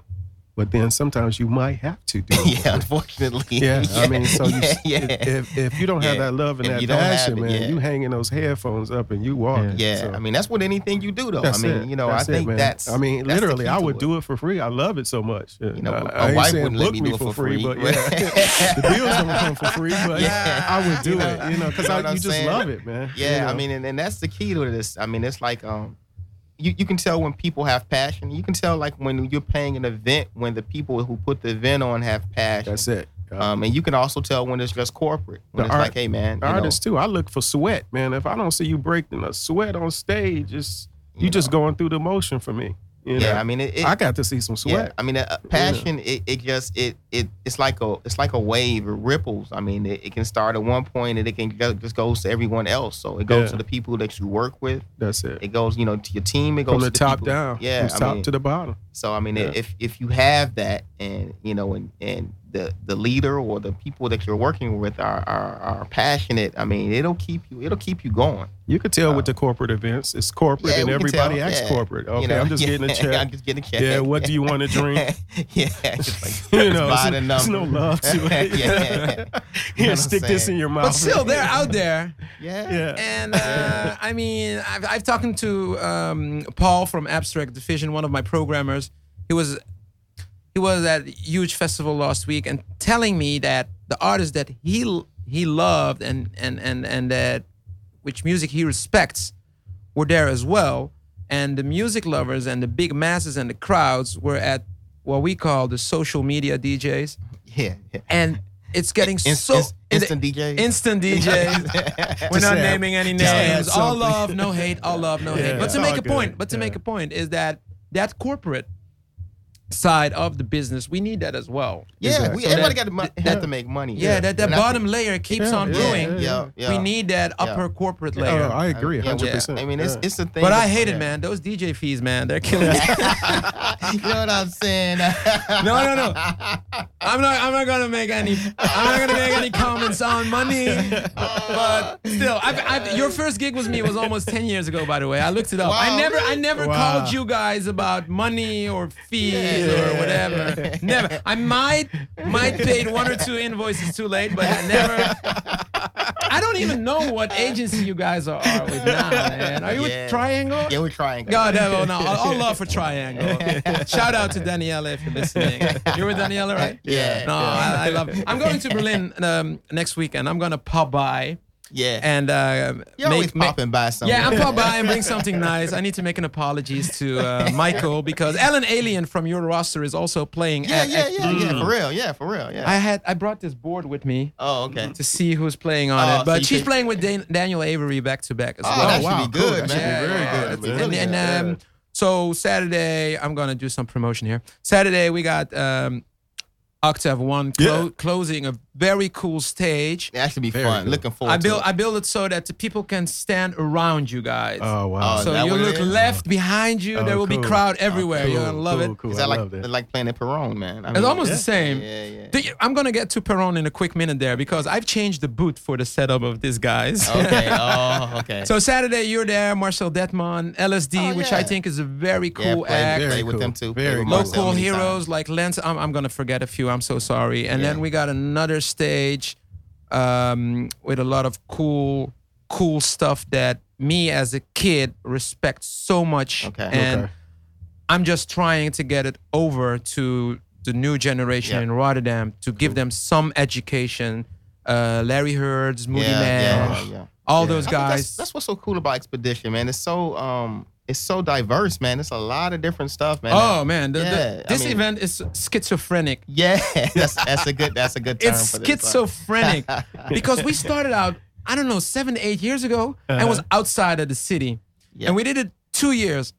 [SPEAKER 2] But then sometimes you might have to do it.
[SPEAKER 3] yeah, unfortunately.
[SPEAKER 2] Yeah, I mean, so you,
[SPEAKER 3] yeah, yeah.
[SPEAKER 2] If, if you don't have
[SPEAKER 3] Yeah.
[SPEAKER 2] that love and
[SPEAKER 3] If you
[SPEAKER 2] that
[SPEAKER 3] don't have
[SPEAKER 2] passion,
[SPEAKER 3] it,
[SPEAKER 2] man,
[SPEAKER 3] yeah.
[SPEAKER 2] you hanging those headphones up and you walking.
[SPEAKER 3] Yeah,
[SPEAKER 2] so
[SPEAKER 3] I mean, that's what anything you do, though. I
[SPEAKER 2] that's
[SPEAKER 3] mean,
[SPEAKER 2] it.
[SPEAKER 3] you know,
[SPEAKER 2] That's
[SPEAKER 3] I
[SPEAKER 2] it,
[SPEAKER 3] think
[SPEAKER 2] man.
[SPEAKER 3] that's.
[SPEAKER 2] I mean,
[SPEAKER 3] that's the
[SPEAKER 2] literally,
[SPEAKER 3] key
[SPEAKER 2] I
[SPEAKER 3] to
[SPEAKER 2] would do it for free. I love it so much.
[SPEAKER 3] You know,
[SPEAKER 2] I,
[SPEAKER 3] my
[SPEAKER 2] I ain't
[SPEAKER 3] wife
[SPEAKER 2] saying
[SPEAKER 3] wouldn't let
[SPEAKER 2] book
[SPEAKER 3] me do it for free,
[SPEAKER 2] but
[SPEAKER 3] but-
[SPEAKER 2] yeah, the bills don't come for free. But
[SPEAKER 3] Yeah.
[SPEAKER 2] I would do
[SPEAKER 3] You know,
[SPEAKER 2] it, you know, because
[SPEAKER 3] you know what
[SPEAKER 2] you
[SPEAKER 3] I'm
[SPEAKER 2] just
[SPEAKER 3] saying?
[SPEAKER 2] love it, man.
[SPEAKER 3] Yeah,
[SPEAKER 2] You know?
[SPEAKER 3] I mean, and, and that's the key to this. I mean, it's like um, you you can tell when people have passion. You can tell like when you're paying an event when the people who put the event on have passion.
[SPEAKER 2] that's it. Uh,
[SPEAKER 3] Um, and you can also tell when it's just corporate. When
[SPEAKER 2] The
[SPEAKER 3] it's
[SPEAKER 2] art-
[SPEAKER 3] like, hey man, you know,
[SPEAKER 2] artists too. I look for sweat, man. If I don't see you breaking a sweat on stage, it's you,
[SPEAKER 3] You
[SPEAKER 2] just going through the motion for me. You
[SPEAKER 3] yeah,
[SPEAKER 2] know?
[SPEAKER 3] I mean, it, it,
[SPEAKER 2] I got to see some sweat.
[SPEAKER 3] I mean, uh, passion. It, it just it it it's like a it's like a wave. It ripples. I mean, it, it can start at one point and it can go, just goes to everyone else. So it goes
[SPEAKER 2] Yeah.
[SPEAKER 3] to the people that you work with.
[SPEAKER 2] That's it.
[SPEAKER 3] It goes, you know, to your team. It goes
[SPEAKER 2] From the
[SPEAKER 3] to the
[SPEAKER 2] top
[SPEAKER 3] people-
[SPEAKER 2] down,
[SPEAKER 3] Yeah,
[SPEAKER 2] from
[SPEAKER 3] I
[SPEAKER 2] top
[SPEAKER 3] mean,
[SPEAKER 2] to the bottom.
[SPEAKER 3] so I mean,
[SPEAKER 2] Yeah.
[SPEAKER 3] if if you have that, and you know, and and the the leader or the people that you're working with are are, are passionate. I mean, it'll keep you it'll keep you going.
[SPEAKER 2] You could tell
[SPEAKER 3] Uh,
[SPEAKER 2] with the corporate events, it's corporate,
[SPEAKER 3] Yeah,
[SPEAKER 2] and
[SPEAKER 3] we can
[SPEAKER 2] everybody
[SPEAKER 3] tell,
[SPEAKER 2] acts
[SPEAKER 3] yeah.
[SPEAKER 2] corporate. Okay,
[SPEAKER 3] you know?
[SPEAKER 2] I'm just
[SPEAKER 3] Yeah,
[SPEAKER 2] getting a check.
[SPEAKER 3] I'm just getting a check.
[SPEAKER 2] yeah, what do you want to drink?
[SPEAKER 3] yeah, it's like,
[SPEAKER 2] you know,
[SPEAKER 3] by
[SPEAKER 2] it's-
[SPEAKER 3] the
[SPEAKER 2] it's no
[SPEAKER 3] number.
[SPEAKER 2] love to it.
[SPEAKER 3] Yeah. You know
[SPEAKER 2] Here,
[SPEAKER 3] what
[SPEAKER 2] stick
[SPEAKER 3] I'm
[SPEAKER 2] this in
[SPEAKER 3] saying?
[SPEAKER 2] your mouth.
[SPEAKER 1] But still, they're out there.
[SPEAKER 3] Yeah.
[SPEAKER 2] Yeah.
[SPEAKER 1] And uh, I mean, I've, I've talked to um, Paul from Abstract Division, one of my programmers. He was he was at a huge festival last week and telling me that the artists that he he loved and and and and that which music he respects were there as well. And the music lovers and the big masses and the crowds were at what we call the social media DJs.
[SPEAKER 3] Yeah. yeah.
[SPEAKER 1] And it's getting
[SPEAKER 3] Inst-
[SPEAKER 1] so
[SPEAKER 3] inst- instant DJ.
[SPEAKER 1] instant DJs. We're
[SPEAKER 2] Just
[SPEAKER 1] not
[SPEAKER 2] add-
[SPEAKER 1] naming any
[SPEAKER 2] just add
[SPEAKER 1] names. All
[SPEAKER 2] something.
[SPEAKER 1] love, no hate. All love, no
[SPEAKER 2] Yeah,
[SPEAKER 1] hate. But
[SPEAKER 2] it's
[SPEAKER 1] to make
[SPEAKER 2] all
[SPEAKER 1] a point,
[SPEAKER 2] good.
[SPEAKER 1] but to make
[SPEAKER 2] Yeah.
[SPEAKER 1] a point is that that corporate side of the business, we need that as well.
[SPEAKER 3] Yeah,
[SPEAKER 2] Exactly.
[SPEAKER 3] we,
[SPEAKER 1] So
[SPEAKER 3] everybody
[SPEAKER 1] that-
[SPEAKER 3] got to, mo-
[SPEAKER 1] that-
[SPEAKER 3] have to make money.
[SPEAKER 1] Yeah, that, that
[SPEAKER 3] And I
[SPEAKER 1] bottom
[SPEAKER 3] think-
[SPEAKER 1] layer keeps
[SPEAKER 2] Yeah,
[SPEAKER 1] on
[SPEAKER 2] yeah,
[SPEAKER 1] growing.
[SPEAKER 2] yeah,
[SPEAKER 3] Yeah, yeah.
[SPEAKER 1] We need that upper corporate
[SPEAKER 2] Oh,
[SPEAKER 1] layer.
[SPEAKER 2] I agree,
[SPEAKER 3] Yeah, we-
[SPEAKER 2] hundred percent.
[SPEAKER 3] I mean, it's it's the thing.
[SPEAKER 1] but
[SPEAKER 3] with-
[SPEAKER 1] I hate
[SPEAKER 3] yeah.
[SPEAKER 1] it, man. Those DJ fees, man, they're killing me.
[SPEAKER 3] you know what I'm saying?
[SPEAKER 1] No, no, no. I'm not. I'm not gonna make any. I'm not gonna make any comments on money. But still, I've, I've, your first gig with me was almost ten years ago. By the way, I looked it up. I
[SPEAKER 3] Wow,
[SPEAKER 1] never. I
[SPEAKER 3] really?
[SPEAKER 1] never
[SPEAKER 2] Wow.
[SPEAKER 1] called you guys about money or fees
[SPEAKER 2] Yeah.
[SPEAKER 1] or whatever. Never. I might might paid one or two invoices too late, but I never. I don't even know what agency you guys are, are with now, man. Are you
[SPEAKER 3] Yeah.
[SPEAKER 1] with Triangle?
[SPEAKER 3] yeah, we're trying.
[SPEAKER 1] God, that- oh, no, all, all love for Triangle. Shout out to Daniela if you're listening. You're with Daniela, right?
[SPEAKER 3] Yeah.
[SPEAKER 1] No, I, I love. I'm going to Berlin um, next week, and I'm gonna pop by
[SPEAKER 3] Yeah.
[SPEAKER 1] and uh,
[SPEAKER 3] You're always
[SPEAKER 1] ma-
[SPEAKER 3] popping by something.
[SPEAKER 1] Yeah, I'm pop by and bring something nice. I need to make an apologies to uh, Michael because Alan Alien from your roster is also playing.
[SPEAKER 3] Yeah,
[SPEAKER 1] at,
[SPEAKER 3] yeah,
[SPEAKER 1] at-
[SPEAKER 3] yeah, yeah. For real. Yeah, for real. Yeah.
[SPEAKER 1] I had I brought this board with me.
[SPEAKER 3] oh, okay.
[SPEAKER 1] To see who's playing on
[SPEAKER 3] Oh,
[SPEAKER 1] it,
[SPEAKER 3] so
[SPEAKER 1] but
[SPEAKER 3] you
[SPEAKER 1] she's
[SPEAKER 3] can-
[SPEAKER 1] playing with Dan- Daniel Avery back to back as
[SPEAKER 3] Oh,
[SPEAKER 1] well.
[SPEAKER 3] that
[SPEAKER 2] wow,
[SPEAKER 3] should be
[SPEAKER 2] cool.
[SPEAKER 3] good,
[SPEAKER 2] That should
[SPEAKER 3] man.
[SPEAKER 2] be very good,
[SPEAKER 1] that's- And,
[SPEAKER 2] man.
[SPEAKER 3] Really
[SPEAKER 1] and,
[SPEAKER 3] good.
[SPEAKER 1] um, so Saturday, I'm gonna do some promotion here. Saturday we got um, Octave One clo-
[SPEAKER 2] Yeah.
[SPEAKER 1] closing a very cool stage.
[SPEAKER 3] that should be
[SPEAKER 2] Very
[SPEAKER 3] fun.
[SPEAKER 2] good.
[SPEAKER 3] Looking forward.
[SPEAKER 1] I build
[SPEAKER 3] To it.
[SPEAKER 1] I build it so that the people can stand around you guys.
[SPEAKER 2] Oh wow!
[SPEAKER 3] Oh,
[SPEAKER 1] so
[SPEAKER 3] that
[SPEAKER 1] you
[SPEAKER 3] what it
[SPEAKER 1] look
[SPEAKER 3] is?
[SPEAKER 1] left behind you.
[SPEAKER 2] Oh,
[SPEAKER 1] there will be
[SPEAKER 2] cool. Oh,
[SPEAKER 1] crowd everywhere.
[SPEAKER 2] Cool,
[SPEAKER 1] You're gonna love
[SPEAKER 2] cool,
[SPEAKER 1] it.
[SPEAKER 2] Cool,
[SPEAKER 3] Is
[SPEAKER 2] I
[SPEAKER 3] that like
[SPEAKER 2] love that.
[SPEAKER 3] like playing at Perone, man? I
[SPEAKER 1] It's
[SPEAKER 3] mean,
[SPEAKER 1] almost
[SPEAKER 3] yeah.
[SPEAKER 1] the same.
[SPEAKER 3] Yeah, yeah.
[SPEAKER 1] Do you- I'm gonna get to Peron in a quick minute there because I've changed the boot for the setup of these guys.
[SPEAKER 3] okay. Oh, okay.
[SPEAKER 1] So Saturday, you're there, Marcel Detman, LSD,
[SPEAKER 3] Oh,
[SPEAKER 1] which
[SPEAKER 3] yeah.
[SPEAKER 1] I think is a very
[SPEAKER 3] yeah,
[SPEAKER 1] cool
[SPEAKER 3] play,
[SPEAKER 1] act.
[SPEAKER 3] play
[SPEAKER 2] Very
[SPEAKER 3] with
[SPEAKER 2] cool.
[SPEAKER 3] them too.
[SPEAKER 2] Very
[SPEAKER 3] play with
[SPEAKER 2] cool.
[SPEAKER 3] Marcel
[SPEAKER 1] Local
[SPEAKER 3] many
[SPEAKER 1] heroes
[SPEAKER 3] times.
[SPEAKER 1] like Lance. I'm, I'm gonna forget a few. I'm so sorry. And then
[SPEAKER 3] Yeah.
[SPEAKER 1] we got another stage um, with a lot of cool, cool stuff that me as a kid respect so much.
[SPEAKER 3] Okay.
[SPEAKER 1] And
[SPEAKER 2] Okay.
[SPEAKER 1] I'm just trying to get it over to the new generation
[SPEAKER 3] Yeah.
[SPEAKER 1] in Rotterdam to give them some education. Uh, Larry Herds, Moody
[SPEAKER 3] yeah,
[SPEAKER 1] Man,
[SPEAKER 3] Yeah, yeah.
[SPEAKER 1] all
[SPEAKER 2] Yeah.
[SPEAKER 1] those
[SPEAKER 3] I think
[SPEAKER 1] guys.
[SPEAKER 3] That's, that's what's so cool about Expedition, man. It's so um, it's so diverse, man. It's a lot of different stuff, man.
[SPEAKER 1] Oh man, the, the-
[SPEAKER 3] Yeah, I
[SPEAKER 1] this
[SPEAKER 3] mean-
[SPEAKER 1] event is schizophrenic.
[SPEAKER 3] yeah, that's that's a good that's a good term.
[SPEAKER 1] It's
[SPEAKER 3] for this, son.
[SPEAKER 1] schizophrenic because we started out, I don't know, seven, eight years ago, and was outside of the city,
[SPEAKER 3] Yeah.
[SPEAKER 1] and we did it two years,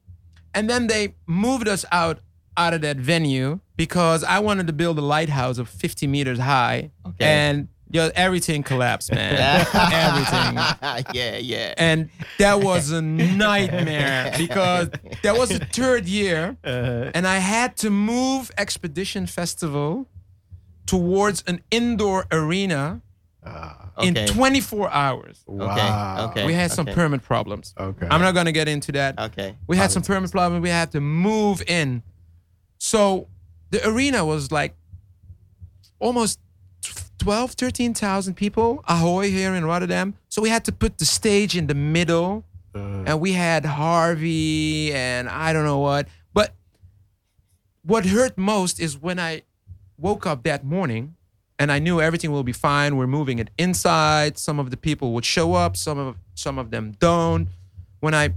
[SPEAKER 1] and then they moved us out out of that venue because I wanted to build a lighthouse of 50 meters high,
[SPEAKER 3] Okay.
[SPEAKER 1] and yo, everything collapsed, man, everything.
[SPEAKER 3] yeah, yeah.
[SPEAKER 1] And that was a nightmare because that was the third year. and I had to move Expedition Festival towards an indoor arena
[SPEAKER 3] Okay.
[SPEAKER 1] in 24 hours.
[SPEAKER 2] Uh, wow.
[SPEAKER 3] okay.
[SPEAKER 1] We had some
[SPEAKER 3] okay. Uh,
[SPEAKER 1] permit problems.
[SPEAKER 2] Okay.
[SPEAKER 1] I'm not going to get into that.
[SPEAKER 3] okay.
[SPEAKER 1] We had some permit problems. We had to move in. So the arena was like almost 12, 13,000 people, Ahoy here in Rotterdam. So we had to put the stage in the middle
[SPEAKER 2] Uh,
[SPEAKER 1] and we had Harvey and I don't know what. But what hurt most is when I woke up that morning and I knew everything will be fine. We're moving it inside. Some of the people would show up, some of some of them don't. When I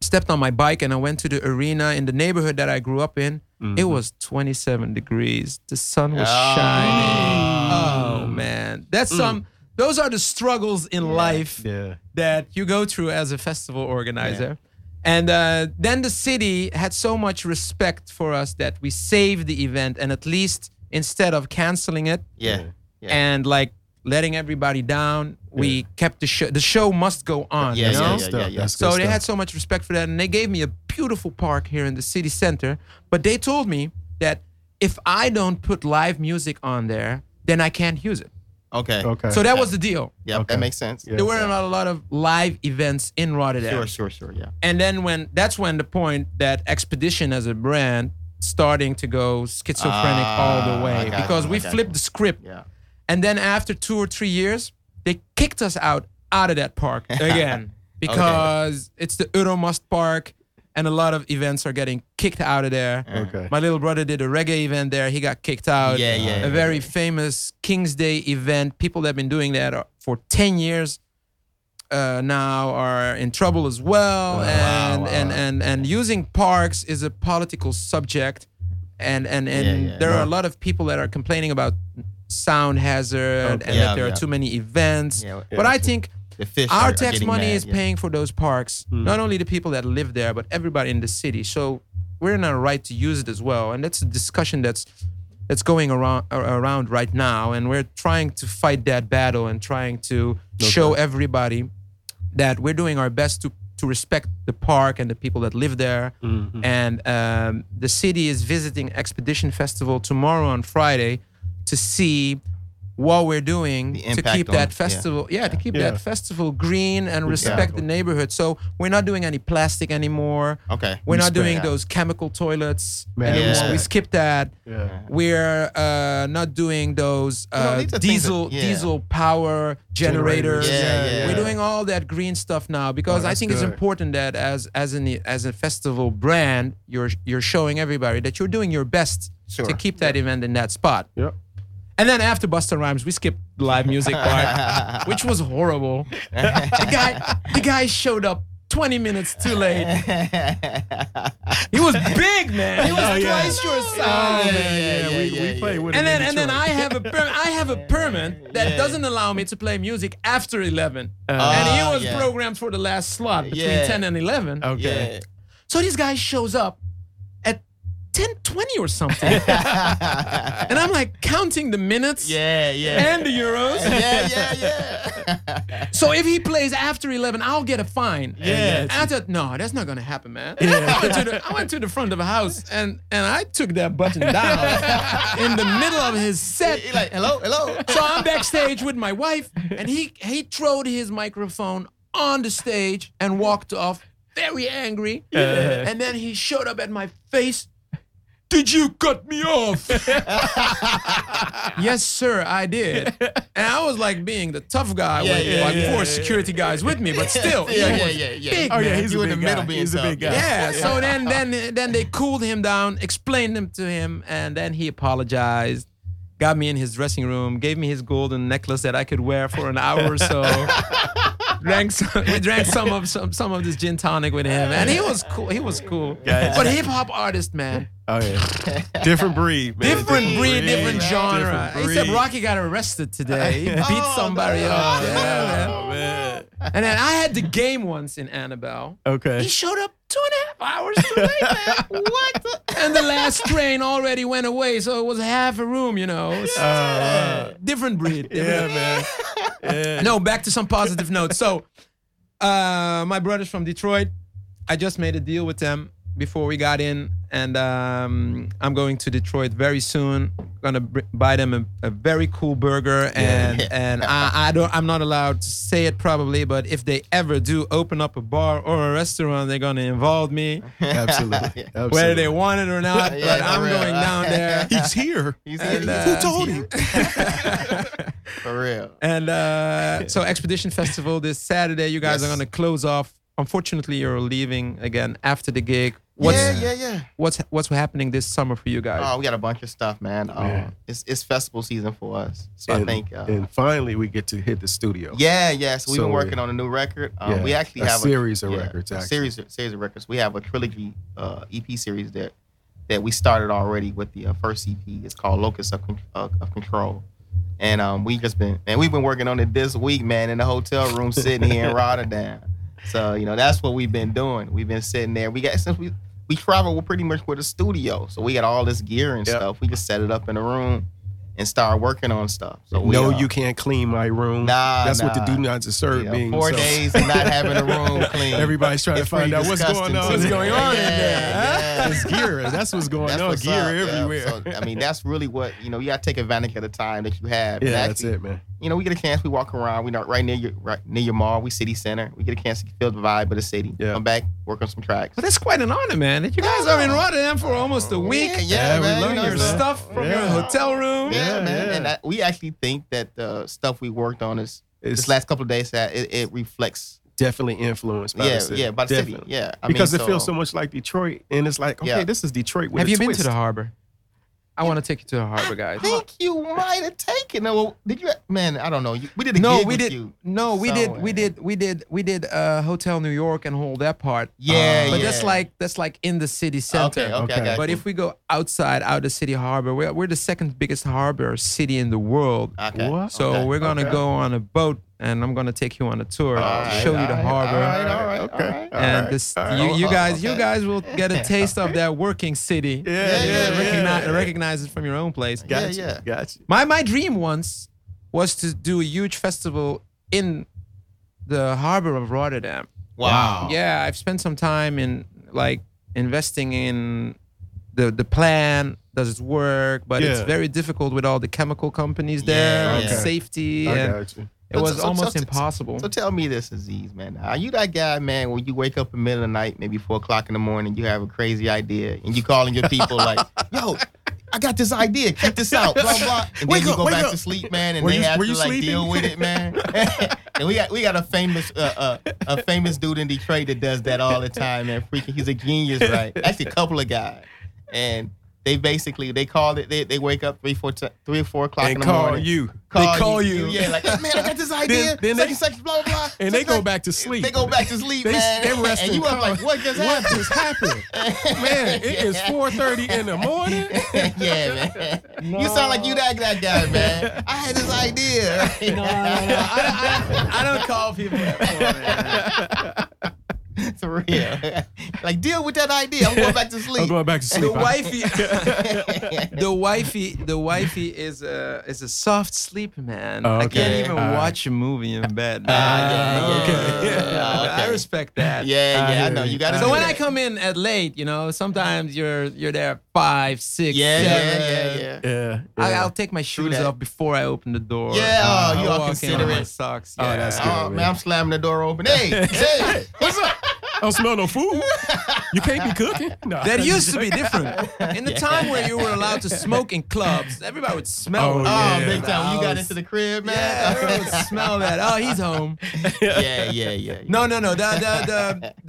[SPEAKER 1] stepped on my bike and I went to the arena in the neighborhood that I grew up in, it was 27 degrees. The sun was
[SPEAKER 3] Oh.
[SPEAKER 1] shining. Oh man. That's some those are the struggles in life
[SPEAKER 2] yeah.
[SPEAKER 1] that you go through as a festival organizer. And uh, then the city had so much respect for us that we saved the event and at least instead of canceling it
[SPEAKER 3] Yeah. Yeah.
[SPEAKER 1] and like letting everybody down, we kept the show. The show must go on.
[SPEAKER 3] Yeah,
[SPEAKER 1] you know?
[SPEAKER 3] yeah,
[SPEAKER 2] Good
[SPEAKER 3] yeah,
[SPEAKER 2] stuff.
[SPEAKER 3] yeah.
[SPEAKER 2] That's
[SPEAKER 1] So
[SPEAKER 2] good
[SPEAKER 1] they
[SPEAKER 2] stuff.
[SPEAKER 1] had so much respect for that, and they gave me a beautiful park here in the city center. But they told me that if I don't put live music on there, then I can't use it.
[SPEAKER 3] Okay.
[SPEAKER 2] Okay.
[SPEAKER 1] So that was the deal.
[SPEAKER 3] Yeah,
[SPEAKER 2] Okay.
[SPEAKER 3] that makes sense.
[SPEAKER 2] Yeah.
[SPEAKER 1] There were not a lot of live events in Rotterdam.
[SPEAKER 3] Sure, sure, sure. Yeah.
[SPEAKER 1] And then when that's when the point that Expedition as a brand starting to go schizophrenic all the
[SPEAKER 3] Ah, I
[SPEAKER 1] way
[SPEAKER 3] got
[SPEAKER 1] because
[SPEAKER 3] you,
[SPEAKER 1] we
[SPEAKER 3] I got
[SPEAKER 1] flipped
[SPEAKER 3] you.
[SPEAKER 1] the script.
[SPEAKER 3] Yeah.
[SPEAKER 1] And then after two or three years, they kicked us out out of that park again because it's the Euromast Park and a lot of events are getting kicked out of there.
[SPEAKER 2] okay.
[SPEAKER 1] My little brother did a reggae event there. He got kicked out.
[SPEAKER 3] Yeah, yeah,
[SPEAKER 1] A
[SPEAKER 3] yeah,
[SPEAKER 1] very famous King's Day event. People that have been doing that are- for 10 years uh, now are in trouble as well. and,
[SPEAKER 2] wow,
[SPEAKER 1] and
[SPEAKER 2] wow.
[SPEAKER 1] and and using parks is a political subject. And and and
[SPEAKER 3] Yeah, yeah,
[SPEAKER 1] there are
[SPEAKER 3] yeah.
[SPEAKER 1] a lot of people that are complaining about sound hazard and that
[SPEAKER 2] Okay.
[SPEAKER 3] Oh, Yeah,
[SPEAKER 1] there are
[SPEAKER 3] yeah.
[SPEAKER 1] too many events.
[SPEAKER 3] Yeah,
[SPEAKER 1] But
[SPEAKER 3] yeah.
[SPEAKER 1] I think
[SPEAKER 3] The fish. are-
[SPEAKER 1] our
[SPEAKER 3] are
[SPEAKER 1] tax
[SPEAKER 3] getting
[SPEAKER 1] money
[SPEAKER 3] mad,
[SPEAKER 1] is
[SPEAKER 3] yeah. Hmm.
[SPEAKER 1] paying for those parks. Not only the people that live there, but everybody in the city. So we're in our right to use it as well, and that's a discussion that's that's going around ar- around right now, and we're trying to fight that battle and trying to show everybody that we're doing our best to to respect the park and the people that live there.
[SPEAKER 3] Mm-hmm.
[SPEAKER 1] And um, the city is visiting Expedition Festival tomorrow on Friday to see what we're doing
[SPEAKER 3] The
[SPEAKER 1] to
[SPEAKER 3] impact
[SPEAKER 1] keep
[SPEAKER 3] on-
[SPEAKER 1] that
[SPEAKER 3] yeah.
[SPEAKER 1] festival yeah, to keep
[SPEAKER 2] Yeah.
[SPEAKER 1] that festival green and respect the neighborhood so we're not doing any plastic anymore
[SPEAKER 3] Okay.
[SPEAKER 1] we're not
[SPEAKER 2] Respect.
[SPEAKER 1] doing those chemical toilets
[SPEAKER 2] Man,
[SPEAKER 1] anymore.
[SPEAKER 3] yeah.
[SPEAKER 1] we skip that
[SPEAKER 2] Yeah.
[SPEAKER 1] we're uh, not doing those
[SPEAKER 3] don't
[SPEAKER 1] uh,
[SPEAKER 3] need to think
[SPEAKER 1] diesel
[SPEAKER 3] of- yeah.
[SPEAKER 1] diesel power generators.
[SPEAKER 3] Generators, Yeah, yeah,
[SPEAKER 1] We're
[SPEAKER 3] yeah. Oh,
[SPEAKER 1] doing all that green stuff now because I
[SPEAKER 2] that's
[SPEAKER 1] think
[SPEAKER 2] good.
[SPEAKER 1] it's important that as as an as a festival brand, you're you're showing everybody that you're doing your best
[SPEAKER 3] Sure.
[SPEAKER 1] to keep that event in that spot.
[SPEAKER 2] Yep.
[SPEAKER 1] And then after Busta Rhymes, we skipped the live music part, which was horrible. The guy the guy showed up 20 minutes too late. He was big, man. He was
[SPEAKER 2] Oh, yeah.
[SPEAKER 1] twice your
[SPEAKER 2] Oh,
[SPEAKER 1] size.
[SPEAKER 3] yeah, yeah, yeah,
[SPEAKER 2] we,
[SPEAKER 3] yeah,
[SPEAKER 2] we
[SPEAKER 3] yeah.
[SPEAKER 2] play with
[SPEAKER 1] and
[SPEAKER 2] it
[SPEAKER 1] then
[SPEAKER 2] in
[SPEAKER 1] and then I
[SPEAKER 2] Detroit.
[SPEAKER 1] have a per- I have a permit that doesn't allow me to play music after eleven,
[SPEAKER 2] Uh,
[SPEAKER 1] and he
[SPEAKER 3] Ah,
[SPEAKER 1] was
[SPEAKER 3] yeah.
[SPEAKER 1] programmed for the last slot between
[SPEAKER 3] Yeah. Oh.
[SPEAKER 1] ten and eleven.
[SPEAKER 2] okay.
[SPEAKER 1] So this guy shows up at ten twenty or something,
[SPEAKER 3] Yeah.
[SPEAKER 1] and I'm like counting the minutes
[SPEAKER 3] yeah, yeah.
[SPEAKER 1] and the euros.
[SPEAKER 3] yeah, yeah, yeah.
[SPEAKER 1] So if he plays after eleven, I'll get a fine.
[SPEAKER 2] Yeah.
[SPEAKER 1] And I thought, no, that's not gonna happen, man. I, went to the, I went to the front of the house and and I took that button down in the middle of his set.
[SPEAKER 3] He like, hello, hello.
[SPEAKER 1] So I'm backstage with my wife, and he he throwed his microphone on the stage and walked off very angry. And then he showed up at my face. Did you cut me off? yes, sir, I did. And I was like being the tough guy
[SPEAKER 3] Yeah,
[SPEAKER 1] with
[SPEAKER 3] yeah,
[SPEAKER 1] like
[SPEAKER 2] yeah,
[SPEAKER 1] four
[SPEAKER 2] yeah.
[SPEAKER 1] security guys with me, but still. he
[SPEAKER 3] yeah, yeah,
[SPEAKER 1] was-
[SPEAKER 3] yeah, yeah.
[SPEAKER 1] big,
[SPEAKER 2] Oh yeah,
[SPEAKER 1] man.
[SPEAKER 2] he's
[SPEAKER 3] You
[SPEAKER 2] a
[SPEAKER 3] in
[SPEAKER 2] big
[SPEAKER 3] the
[SPEAKER 2] guy.
[SPEAKER 3] middle being
[SPEAKER 2] he's a
[SPEAKER 3] tough.
[SPEAKER 2] big guy.
[SPEAKER 1] Yeah, so then then then they cooled him down, explained him to him, and then he apologized, got me in his dressing room, gave me his golden necklace that I could wear for an hour or so. drank some, we drank some of some some of this gin tonic with him, and he was cool. He was cool.
[SPEAKER 2] Gotcha.
[SPEAKER 1] But hip hop artist, man,
[SPEAKER 2] Oh yeah. different breed, man.
[SPEAKER 1] different breed, different genre.
[SPEAKER 2] different
[SPEAKER 1] Except
[SPEAKER 2] breed.
[SPEAKER 1] Rocky got arrested today. He beat
[SPEAKER 3] Oh,
[SPEAKER 1] somebody
[SPEAKER 3] no.
[SPEAKER 1] up. Yeah, man.
[SPEAKER 2] Oh man.
[SPEAKER 1] And then I had the game once in Annabelle. He
[SPEAKER 2] Okay.
[SPEAKER 1] showed up two and a half hours too late, man. what? and the last train already went away, so it was half a room, you know. It's
[SPEAKER 2] Oh, wow.
[SPEAKER 1] Different breed.
[SPEAKER 2] yeah, man. Yeah.
[SPEAKER 1] No, back to some positive notes. So, uh, my brothers from Detroit, I just made a deal with them before we got in, and um, I'm going to Detroit very soon. Gonna br- buy them a, a very cool burger, and and I, I don't, I'm not allowed to say it probably, but if they ever do open up a bar or a restaurant, they're gonna involve me,
[SPEAKER 2] Absolutely. Absolutely.
[SPEAKER 1] whether they want it or not.
[SPEAKER 3] Yeah,
[SPEAKER 1] but
[SPEAKER 3] for
[SPEAKER 1] I'm
[SPEAKER 3] real.
[SPEAKER 1] going down there.
[SPEAKER 2] He's here.
[SPEAKER 3] He's
[SPEAKER 1] And,
[SPEAKER 3] he's-
[SPEAKER 1] uh,
[SPEAKER 2] Who told you?
[SPEAKER 3] for real.
[SPEAKER 1] And uh, so Expedition Festival this Saturday, you guys are
[SPEAKER 3] Yes.
[SPEAKER 1] gonna close off. Unfortunately, you're leaving again after the gig. What's
[SPEAKER 3] yeah, yeah, yeah.
[SPEAKER 1] what's what's happening this summer for you guys?
[SPEAKER 3] Oh, we got a bunch of stuff, man. Um,
[SPEAKER 2] Yeah.
[SPEAKER 3] It's it's festival season for us, so
[SPEAKER 2] and,
[SPEAKER 3] I think. Uh,
[SPEAKER 2] and finally, we get to hit the studio.
[SPEAKER 3] yeah, yeah. So we've
[SPEAKER 2] So,
[SPEAKER 3] been working on a new record. Um,
[SPEAKER 2] yeah,
[SPEAKER 3] We actually
[SPEAKER 2] a
[SPEAKER 3] have
[SPEAKER 2] series of
[SPEAKER 3] yeah,
[SPEAKER 2] records,
[SPEAKER 3] a
[SPEAKER 2] actually.
[SPEAKER 3] series series of records. We have a trilogy uh, EP series that that we started already with the uh, first EP. It's called Locus of, Con- uh, of Control, and um, we just been and we've been working on it this week, man, in the hotel room sitting here in Rotterdam. So you know that's what we've been doing. We've been sitting there. We got since we we travel we're pretty much with a studio, so we got all this gear and
[SPEAKER 2] Yep.
[SPEAKER 3] stuff. We just set it up in a room and start working on stuff. So we,
[SPEAKER 2] no,
[SPEAKER 3] uh,
[SPEAKER 2] you can't clean my room.
[SPEAKER 3] Nah,
[SPEAKER 2] That's what
[SPEAKER 3] nah.
[SPEAKER 2] the do not disturb
[SPEAKER 3] yeah,
[SPEAKER 2] means.
[SPEAKER 3] four
[SPEAKER 2] So
[SPEAKER 3] days and not having a room clean.
[SPEAKER 2] Everybody's trying to
[SPEAKER 3] It's
[SPEAKER 2] find
[SPEAKER 3] pretty
[SPEAKER 2] out what's going
[SPEAKER 3] disgusting
[SPEAKER 2] on.
[SPEAKER 3] to
[SPEAKER 1] What's
[SPEAKER 3] me.
[SPEAKER 1] going on in
[SPEAKER 3] Yeah,
[SPEAKER 1] there, huh?
[SPEAKER 3] yeah.
[SPEAKER 2] It's gear. That's what's going
[SPEAKER 3] That's
[SPEAKER 2] on.
[SPEAKER 3] what's
[SPEAKER 2] Gear
[SPEAKER 3] up, yeah.
[SPEAKER 2] everywhere.
[SPEAKER 3] So, I mean, that's really what you know. You gotta take advantage of the time that you have.
[SPEAKER 2] yeah,
[SPEAKER 3] And
[SPEAKER 2] that's
[SPEAKER 3] actually,
[SPEAKER 2] it, man.
[SPEAKER 3] You know, we get a chance. We walk around. We not right near your right near your mall. We city center. We get a chance to feel the vibe of the city.
[SPEAKER 2] Yeah.
[SPEAKER 3] Come back, work on some tracks.
[SPEAKER 1] But that's quite an honor, man. That you guys are in Rotterdam for almost a week.
[SPEAKER 3] Yeah,
[SPEAKER 2] Yeah,
[SPEAKER 3] yeah,
[SPEAKER 2] we
[SPEAKER 3] man.
[SPEAKER 2] love
[SPEAKER 3] you know,
[SPEAKER 2] it,
[SPEAKER 1] Your
[SPEAKER 2] man.
[SPEAKER 1] stuff from your
[SPEAKER 2] Yeah.
[SPEAKER 1] hotel room.
[SPEAKER 3] Yeah,
[SPEAKER 2] Yeah,
[SPEAKER 3] man.
[SPEAKER 2] yeah.
[SPEAKER 3] And I, we actually think that the stuff we worked on is
[SPEAKER 2] It's
[SPEAKER 3] this last couple of days that it, it reflects.
[SPEAKER 2] definitely influenced by
[SPEAKER 3] yeah,
[SPEAKER 2] the city.
[SPEAKER 3] yeah, by the city.
[SPEAKER 2] Definitely.
[SPEAKER 3] Yeah, I
[SPEAKER 2] because
[SPEAKER 3] mean,
[SPEAKER 2] it feels so much like Detroit, and it's like, okay,
[SPEAKER 3] Yeah.
[SPEAKER 2] this is Detroit. With
[SPEAKER 1] Have
[SPEAKER 2] a
[SPEAKER 1] you been
[SPEAKER 2] twist.
[SPEAKER 1] to the harbor? I want to take you to the harbor, guys.
[SPEAKER 3] I think you might have taken it. Well, did you? Man, I don't know. You, we did a
[SPEAKER 1] No,
[SPEAKER 3] gig
[SPEAKER 1] we
[SPEAKER 3] with
[SPEAKER 1] did.
[SPEAKER 3] you.
[SPEAKER 1] No, we did. We
[SPEAKER 3] somewhere.
[SPEAKER 1] did. We did. We did. Uh, Hotel New York and all that part.
[SPEAKER 3] Yeah,
[SPEAKER 1] but
[SPEAKER 3] yeah.
[SPEAKER 1] that's like that's like in the city center.
[SPEAKER 3] Okay, okay, I
[SPEAKER 2] Okay.
[SPEAKER 3] got
[SPEAKER 1] But
[SPEAKER 3] you.
[SPEAKER 1] if we go outside, out of city harbor, we're, we're the second biggest harbor city in the world.
[SPEAKER 3] okay.
[SPEAKER 2] What?
[SPEAKER 1] So
[SPEAKER 3] Ah, okay,
[SPEAKER 1] we're gonna
[SPEAKER 2] okay.
[SPEAKER 1] go on a boat and I'm gonna take you on a tour,
[SPEAKER 3] All right,
[SPEAKER 1] show
[SPEAKER 3] all
[SPEAKER 1] you the
[SPEAKER 3] right,
[SPEAKER 1] harbor,
[SPEAKER 3] All right, all right,
[SPEAKER 2] Okay.
[SPEAKER 3] all right.
[SPEAKER 2] All
[SPEAKER 1] and
[SPEAKER 2] right,
[SPEAKER 1] this,
[SPEAKER 2] all right.
[SPEAKER 1] you, you
[SPEAKER 3] Oh,
[SPEAKER 1] guys, you
[SPEAKER 3] okay.
[SPEAKER 1] guys will get a taste of that working city.
[SPEAKER 2] Yeah,
[SPEAKER 3] yeah,
[SPEAKER 1] recogni-
[SPEAKER 2] yeah,
[SPEAKER 1] recognize,
[SPEAKER 2] yeah.
[SPEAKER 1] it from your own place.
[SPEAKER 3] Yeah,
[SPEAKER 2] Got
[SPEAKER 3] yeah.
[SPEAKER 2] you. Got you.
[SPEAKER 1] My my dream once was to do a huge festival in the harbor of Rotterdam.
[SPEAKER 3] Wow.
[SPEAKER 1] Yeah, I've spent some time in like investing in the the plan. Does it work? But it's
[SPEAKER 2] Yeah.
[SPEAKER 1] very difficult with all the chemical companies there
[SPEAKER 3] Yeah,
[SPEAKER 1] and
[SPEAKER 2] okay.
[SPEAKER 1] safety.
[SPEAKER 2] I
[SPEAKER 1] and
[SPEAKER 2] got you.
[SPEAKER 1] it was
[SPEAKER 3] So- so-
[SPEAKER 1] almost
[SPEAKER 3] so- so-
[SPEAKER 1] impossible.
[SPEAKER 3] So tell me this, Aziz, man. Are you that guy, man, when you wake up in the middle of the night, maybe four o'clock in the morning, you have a crazy idea and you calling your people like, yo, I got this idea, check this out, blah blah. And
[SPEAKER 2] Wake
[SPEAKER 3] then you
[SPEAKER 2] up,
[SPEAKER 3] go
[SPEAKER 2] wake
[SPEAKER 3] back
[SPEAKER 2] up.
[SPEAKER 3] to sleep, man, and
[SPEAKER 2] Were
[SPEAKER 3] they
[SPEAKER 2] you-
[SPEAKER 3] have
[SPEAKER 2] were
[SPEAKER 3] to
[SPEAKER 2] you
[SPEAKER 3] like
[SPEAKER 2] sleeping?
[SPEAKER 3] deal with it, man. and we got we got a famous uh, uh, a famous dude in Detroit that does that all the time, man. Freaking he's a genius, right? Actually a couple of guys. And they basically they call it they, they wake up three four ti- three or four o'clock in
[SPEAKER 2] And
[SPEAKER 3] the
[SPEAKER 2] call
[SPEAKER 3] morning
[SPEAKER 2] you.
[SPEAKER 3] call
[SPEAKER 2] they call you.
[SPEAKER 3] Yeah, like, hey, man, I got this idea.
[SPEAKER 2] then
[SPEAKER 3] such
[SPEAKER 2] they-
[SPEAKER 3] and such, blah, blah, blah.
[SPEAKER 2] And
[SPEAKER 3] such
[SPEAKER 2] they go
[SPEAKER 3] such.
[SPEAKER 2] back to sleep.
[SPEAKER 3] They go back to sleep,
[SPEAKER 2] They-
[SPEAKER 3] man.
[SPEAKER 2] they rest
[SPEAKER 3] and
[SPEAKER 2] in
[SPEAKER 3] you up like, what just
[SPEAKER 2] What
[SPEAKER 3] happened?
[SPEAKER 2] just happened? Man, it is 4.30 in the morning.
[SPEAKER 3] yeah, man. You sound like you that, that guy, man. I had this idea.
[SPEAKER 1] I, I, I don't call people. That
[SPEAKER 3] For real. like, deal with that idea. I'm going back to
[SPEAKER 2] I'm
[SPEAKER 3] sleep.
[SPEAKER 2] going back to sleep.
[SPEAKER 1] the wifey, the wifey, the wifey is a is a soft sleeper, man. I can't
[SPEAKER 3] Okay.
[SPEAKER 1] even
[SPEAKER 2] All right. Ah,
[SPEAKER 1] watch a movie in bed. man.
[SPEAKER 3] yeah,
[SPEAKER 1] No,
[SPEAKER 2] yeah,
[SPEAKER 1] no,
[SPEAKER 2] okay.
[SPEAKER 1] no, no, I
[SPEAKER 3] Okay.
[SPEAKER 1] respect that.
[SPEAKER 3] yeah, yeah, I
[SPEAKER 2] Uh,
[SPEAKER 3] know. You got to
[SPEAKER 1] So
[SPEAKER 3] do
[SPEAKER 1] when
[SPEAKER 3] that.
[SPEAKER 1] I come in at late, you know, sometimes you're you're there at five, six,
[SPEAKER 3] Yeah,
[SPEAKER 1] seven.
[SPEAKER 3] yeah, yeah, yeah.
[SPEAKER 2] Yeah.
[SPEAKER 1] I,
[SPEAKER 2] yeah.
[SPEAKER 1] I'll take my shoes
[SPEAKER 3] that.
[SPEAKER 1] off before I open the door. Uh,
[SPEAKER 3] Yeah, oh,
[SPEAKER 1] I'll
[SPEAKER 3] you
[SPEAKER 1] walk in
[SPEAKER 3] are
[SPEAKER 1] with my
[SPEAKER 3] considerate.
[SPEAKER 1] socks.
[SPEAKER 2] Oh,
[SPEAKER 1] Yeah.
[SPEAKER 2] that's good.
[SPEAKER 3] Oh,
[SPEAKER 2] man.
[SPEAKER 3] man, I'm slamming the door open. Hey, hey.
[SPEAKER 2] What's up? I don't smell no food. You can't be cooking. No.
[SPEAKER 1] That used to be different. In the time where you were allowed to smoke in clubs, everybody would smell.
[SPEAKER 2] Oh,
[SPEAKER 1] it.
[SPEAKER 3] Oh,
[SPEAKER 2] Yeah.
[SPEAKER 3] big time. When you got
[SPEAKER 1] I
[SPEAKER 3] into the crib, man.
[SPEAKER 1] Yeah, everyone would smell that. Oh, he's home.
[SPEAKER 3] yeah, yeah, yeah.
[SPEAKER 1] No, no, no. The the the,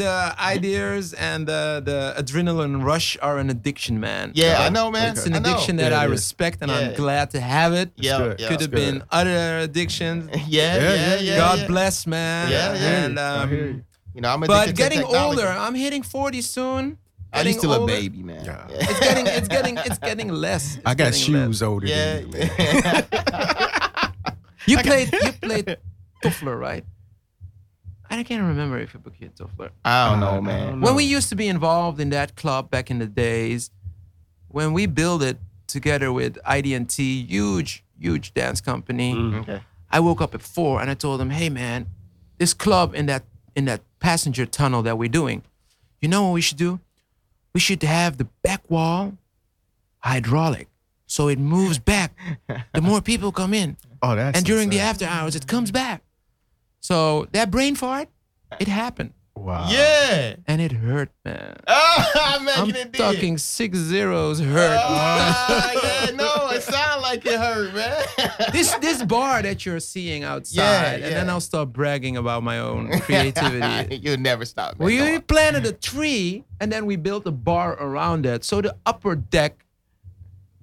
[SPEAKER 1] the ideas and the, the adrenaline rush are an addiction, man.
[SPEAKER 3] Yeah, I know, man.
[SPEAKER 1] It's an
[SPEAKER 3] I know.
[SPEAKER 1] addiction that
[SPEAKER 2] Yeah,
[SPEAKER 1] I
[SPEAKER 2] it is.
[SPEAKER 1] respect, and I'm
[SPEAKER 3] Yeah.
[SPEAKER 1] glad to have it.
[SPEAKER 3] Yeah,
[SPEAKER 2] good.
[SPEAKER 3] yeah.
[SPEAKER 1] Could have
[SPEAKER 2] That's good.
[SPEAKER 1] been other addictions.
[SPEAKER 3] Yeah,
[SPEAKER 2] Yeah,
[SPEAKER 3] yeah,
[SPEAKER 2] yeah,
[SPEAKER 3] yeah.
[SPEAKER 2] yeah.
[SPEAKER 1] God
[SPEAKER 3] yeah.
[SPEAKER 1] bless, man.
[SPEAKER 3] Yeah, yeah.
[SPEAKER 1] And,
[SPEAKER 2] I hear you.
[SPEAKER 1] um,
[SPEAKER 3] You know, I'm addicted
[SPEAKER 1] but
[SPEAKER 3] to
[SPEAKER 1] getting
[SPEAKER 3] technology.
[SPEAKER 1] older, I'm hitting 40 soon.
[SPEAKER 3] Are you
[SPEAKER 1] Getting
[SPEAKER 3] still a
[SPEAKER 1] older.
[SPEAKER 3] baby, man?
[SPEAKER 2] Yeah.
[SPEAKER 1] It's getting, it's getting, it's getting less. It's
[SPEAKER 2] I got
[SPEAKER 1] getting less.
[SPEAKER 2] shoes older than
[SPEAKER 3] Yeah.
[SPEAKER 2] you, man.
[SPEAKER 1] You played, you played Toffler, right? I can't remember if you booked you at Toffler.
[SPEAKER 3] I
[SPEAKER 2] I
[SPEAKER 3] don't know,
[SPEAKER 2] don't
[SPEAKER 3] man.
[SPEAKER 2] know.
[SPEAKER 1] When we used to be involved in that club back in the days, when we built it together with IDNT, huge, huge dance company.
[SPEAKER 2] Mm-hmm.
[SPEAKER 3] Okay.
[SPEAKER 1] I woke up at four and I told them, "Hey, man, this club in that in that passenger tunnel that we're doing, you know what we should do? We should have the back wall hydraulic, so it moves back. The more people come in,
[SPEAKER 2] Oh, that's
[SPEAKER 1] and during the
[SPEAKER 2] insane.
[SPEAKER 1] after hours, it comes back. So that brain fart, it happened,
[SPEAKER 2] Wow.
[SPEAKER 3] Uh, Yeah.
[SPEAKER 1] and it hurt, man.
[SPEAKER 3] Oh, man,
[SPEAKER 1] I'm
[SPEAKER 3] you done did.
[SPEAKER 1] talking six zeros hurt.
[SPEAKER 3] Ah, yeah, no, it sounded like it hurt, man.
[SPEAKER 1] this this bar that you're seeing outside, and then
[SPEAKER 3] yeah.
[SPEAKER 1] I'll start bragging about my own creativity.
[SPEAKER 3] You'll never stop. Man. Go
[SPEAKER 1] We
[SPEAKER 3] on.
[SPEAKER 1] planted a tree and then we built a bar around that. So the upper deck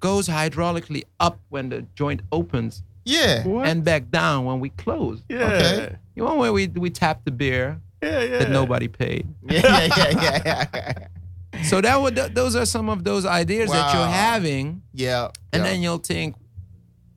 [SPEAKER 1] goes hydraulically up when the joint opens
[SPEAKER 3] Yeah.
[SPEAKER 2] What?
[SPEAKER 1] and back down when we close.
[SPEAKER 2] yeah.
[SPEAKER 3] Okay.
[SPEAKER 1] You know where we, we tapped the beer
[SPEAKER 2] Yeah, yeah.
[SPEAKER 1] that nobody paid.
[SPEAKER 3] Yeah, yeah, yeah, yeah, yeah.
[SPEAKER 1] So that would th- those are some of those ideas that you're
[SPEAKER 3] Wow.
[SPEAKER 1] having,
[SPEAKER 3] Yeah.
[SPEAKER 1] and
[SPEAKER 3] yeah.
[SPEAKER 1] then you'll think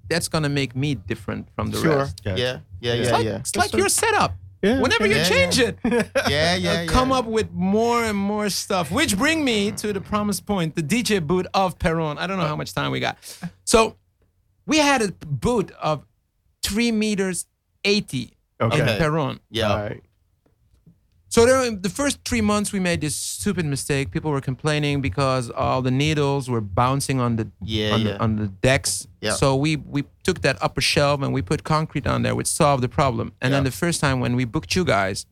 [SPEAKER 1] that's gonna make me different from the
[SPEAKER 3] sure.
[SPEAKER 1] rest.
[SPEAKER 3] Yeah, yeah, yeah,
[SPEAKER 1] It's
[SPEAKER 3] yeah,
[SPEAKER 1] like,
[SPEAKER 3] yeah.
[SPEAKER 1] It's like your setup. Whenever you
[SPEAKER 3] Yeah,
[SPEAKER 1] change
[SPEAKER 3] yeah.
[SPEAKER 1] it,
[SPEAKER 3] Yeah, yeah,
[SPEAKER 1] uh,
[SPEAKER 3] yeah.
[SPEAKER 1] come up with more and more stuff. Which bring me to the promised point, the DJ boot of Peron. I don't know how much time we got. So we had a boot of three meters eighty in
[SPEAKER 2] Okay.
[SPEAKER 3] Okay.
[SPEAKER 1] Peron.
[SPEAKER 3] Yeah.
[SPEAKER 2] All right.
[SPEAKER 1] So during the first three months, we made this stupid mistake. People were complaining because all the needles were bouncing on the
[SPEAKER 3] Yeah,
[SPEAKER 1] on,
[SPEAKER 3] yeah.
[SPEAKER 1] the, on the decks.
[SPEAKER 3] Yeah.
[SPEAKER 1] So we we took that upper shelf and we put concrete on there, which solved the problem. And then
[SPEAKER 3] Yeah.
[SPEAKER 1] the first time when we booked you guys,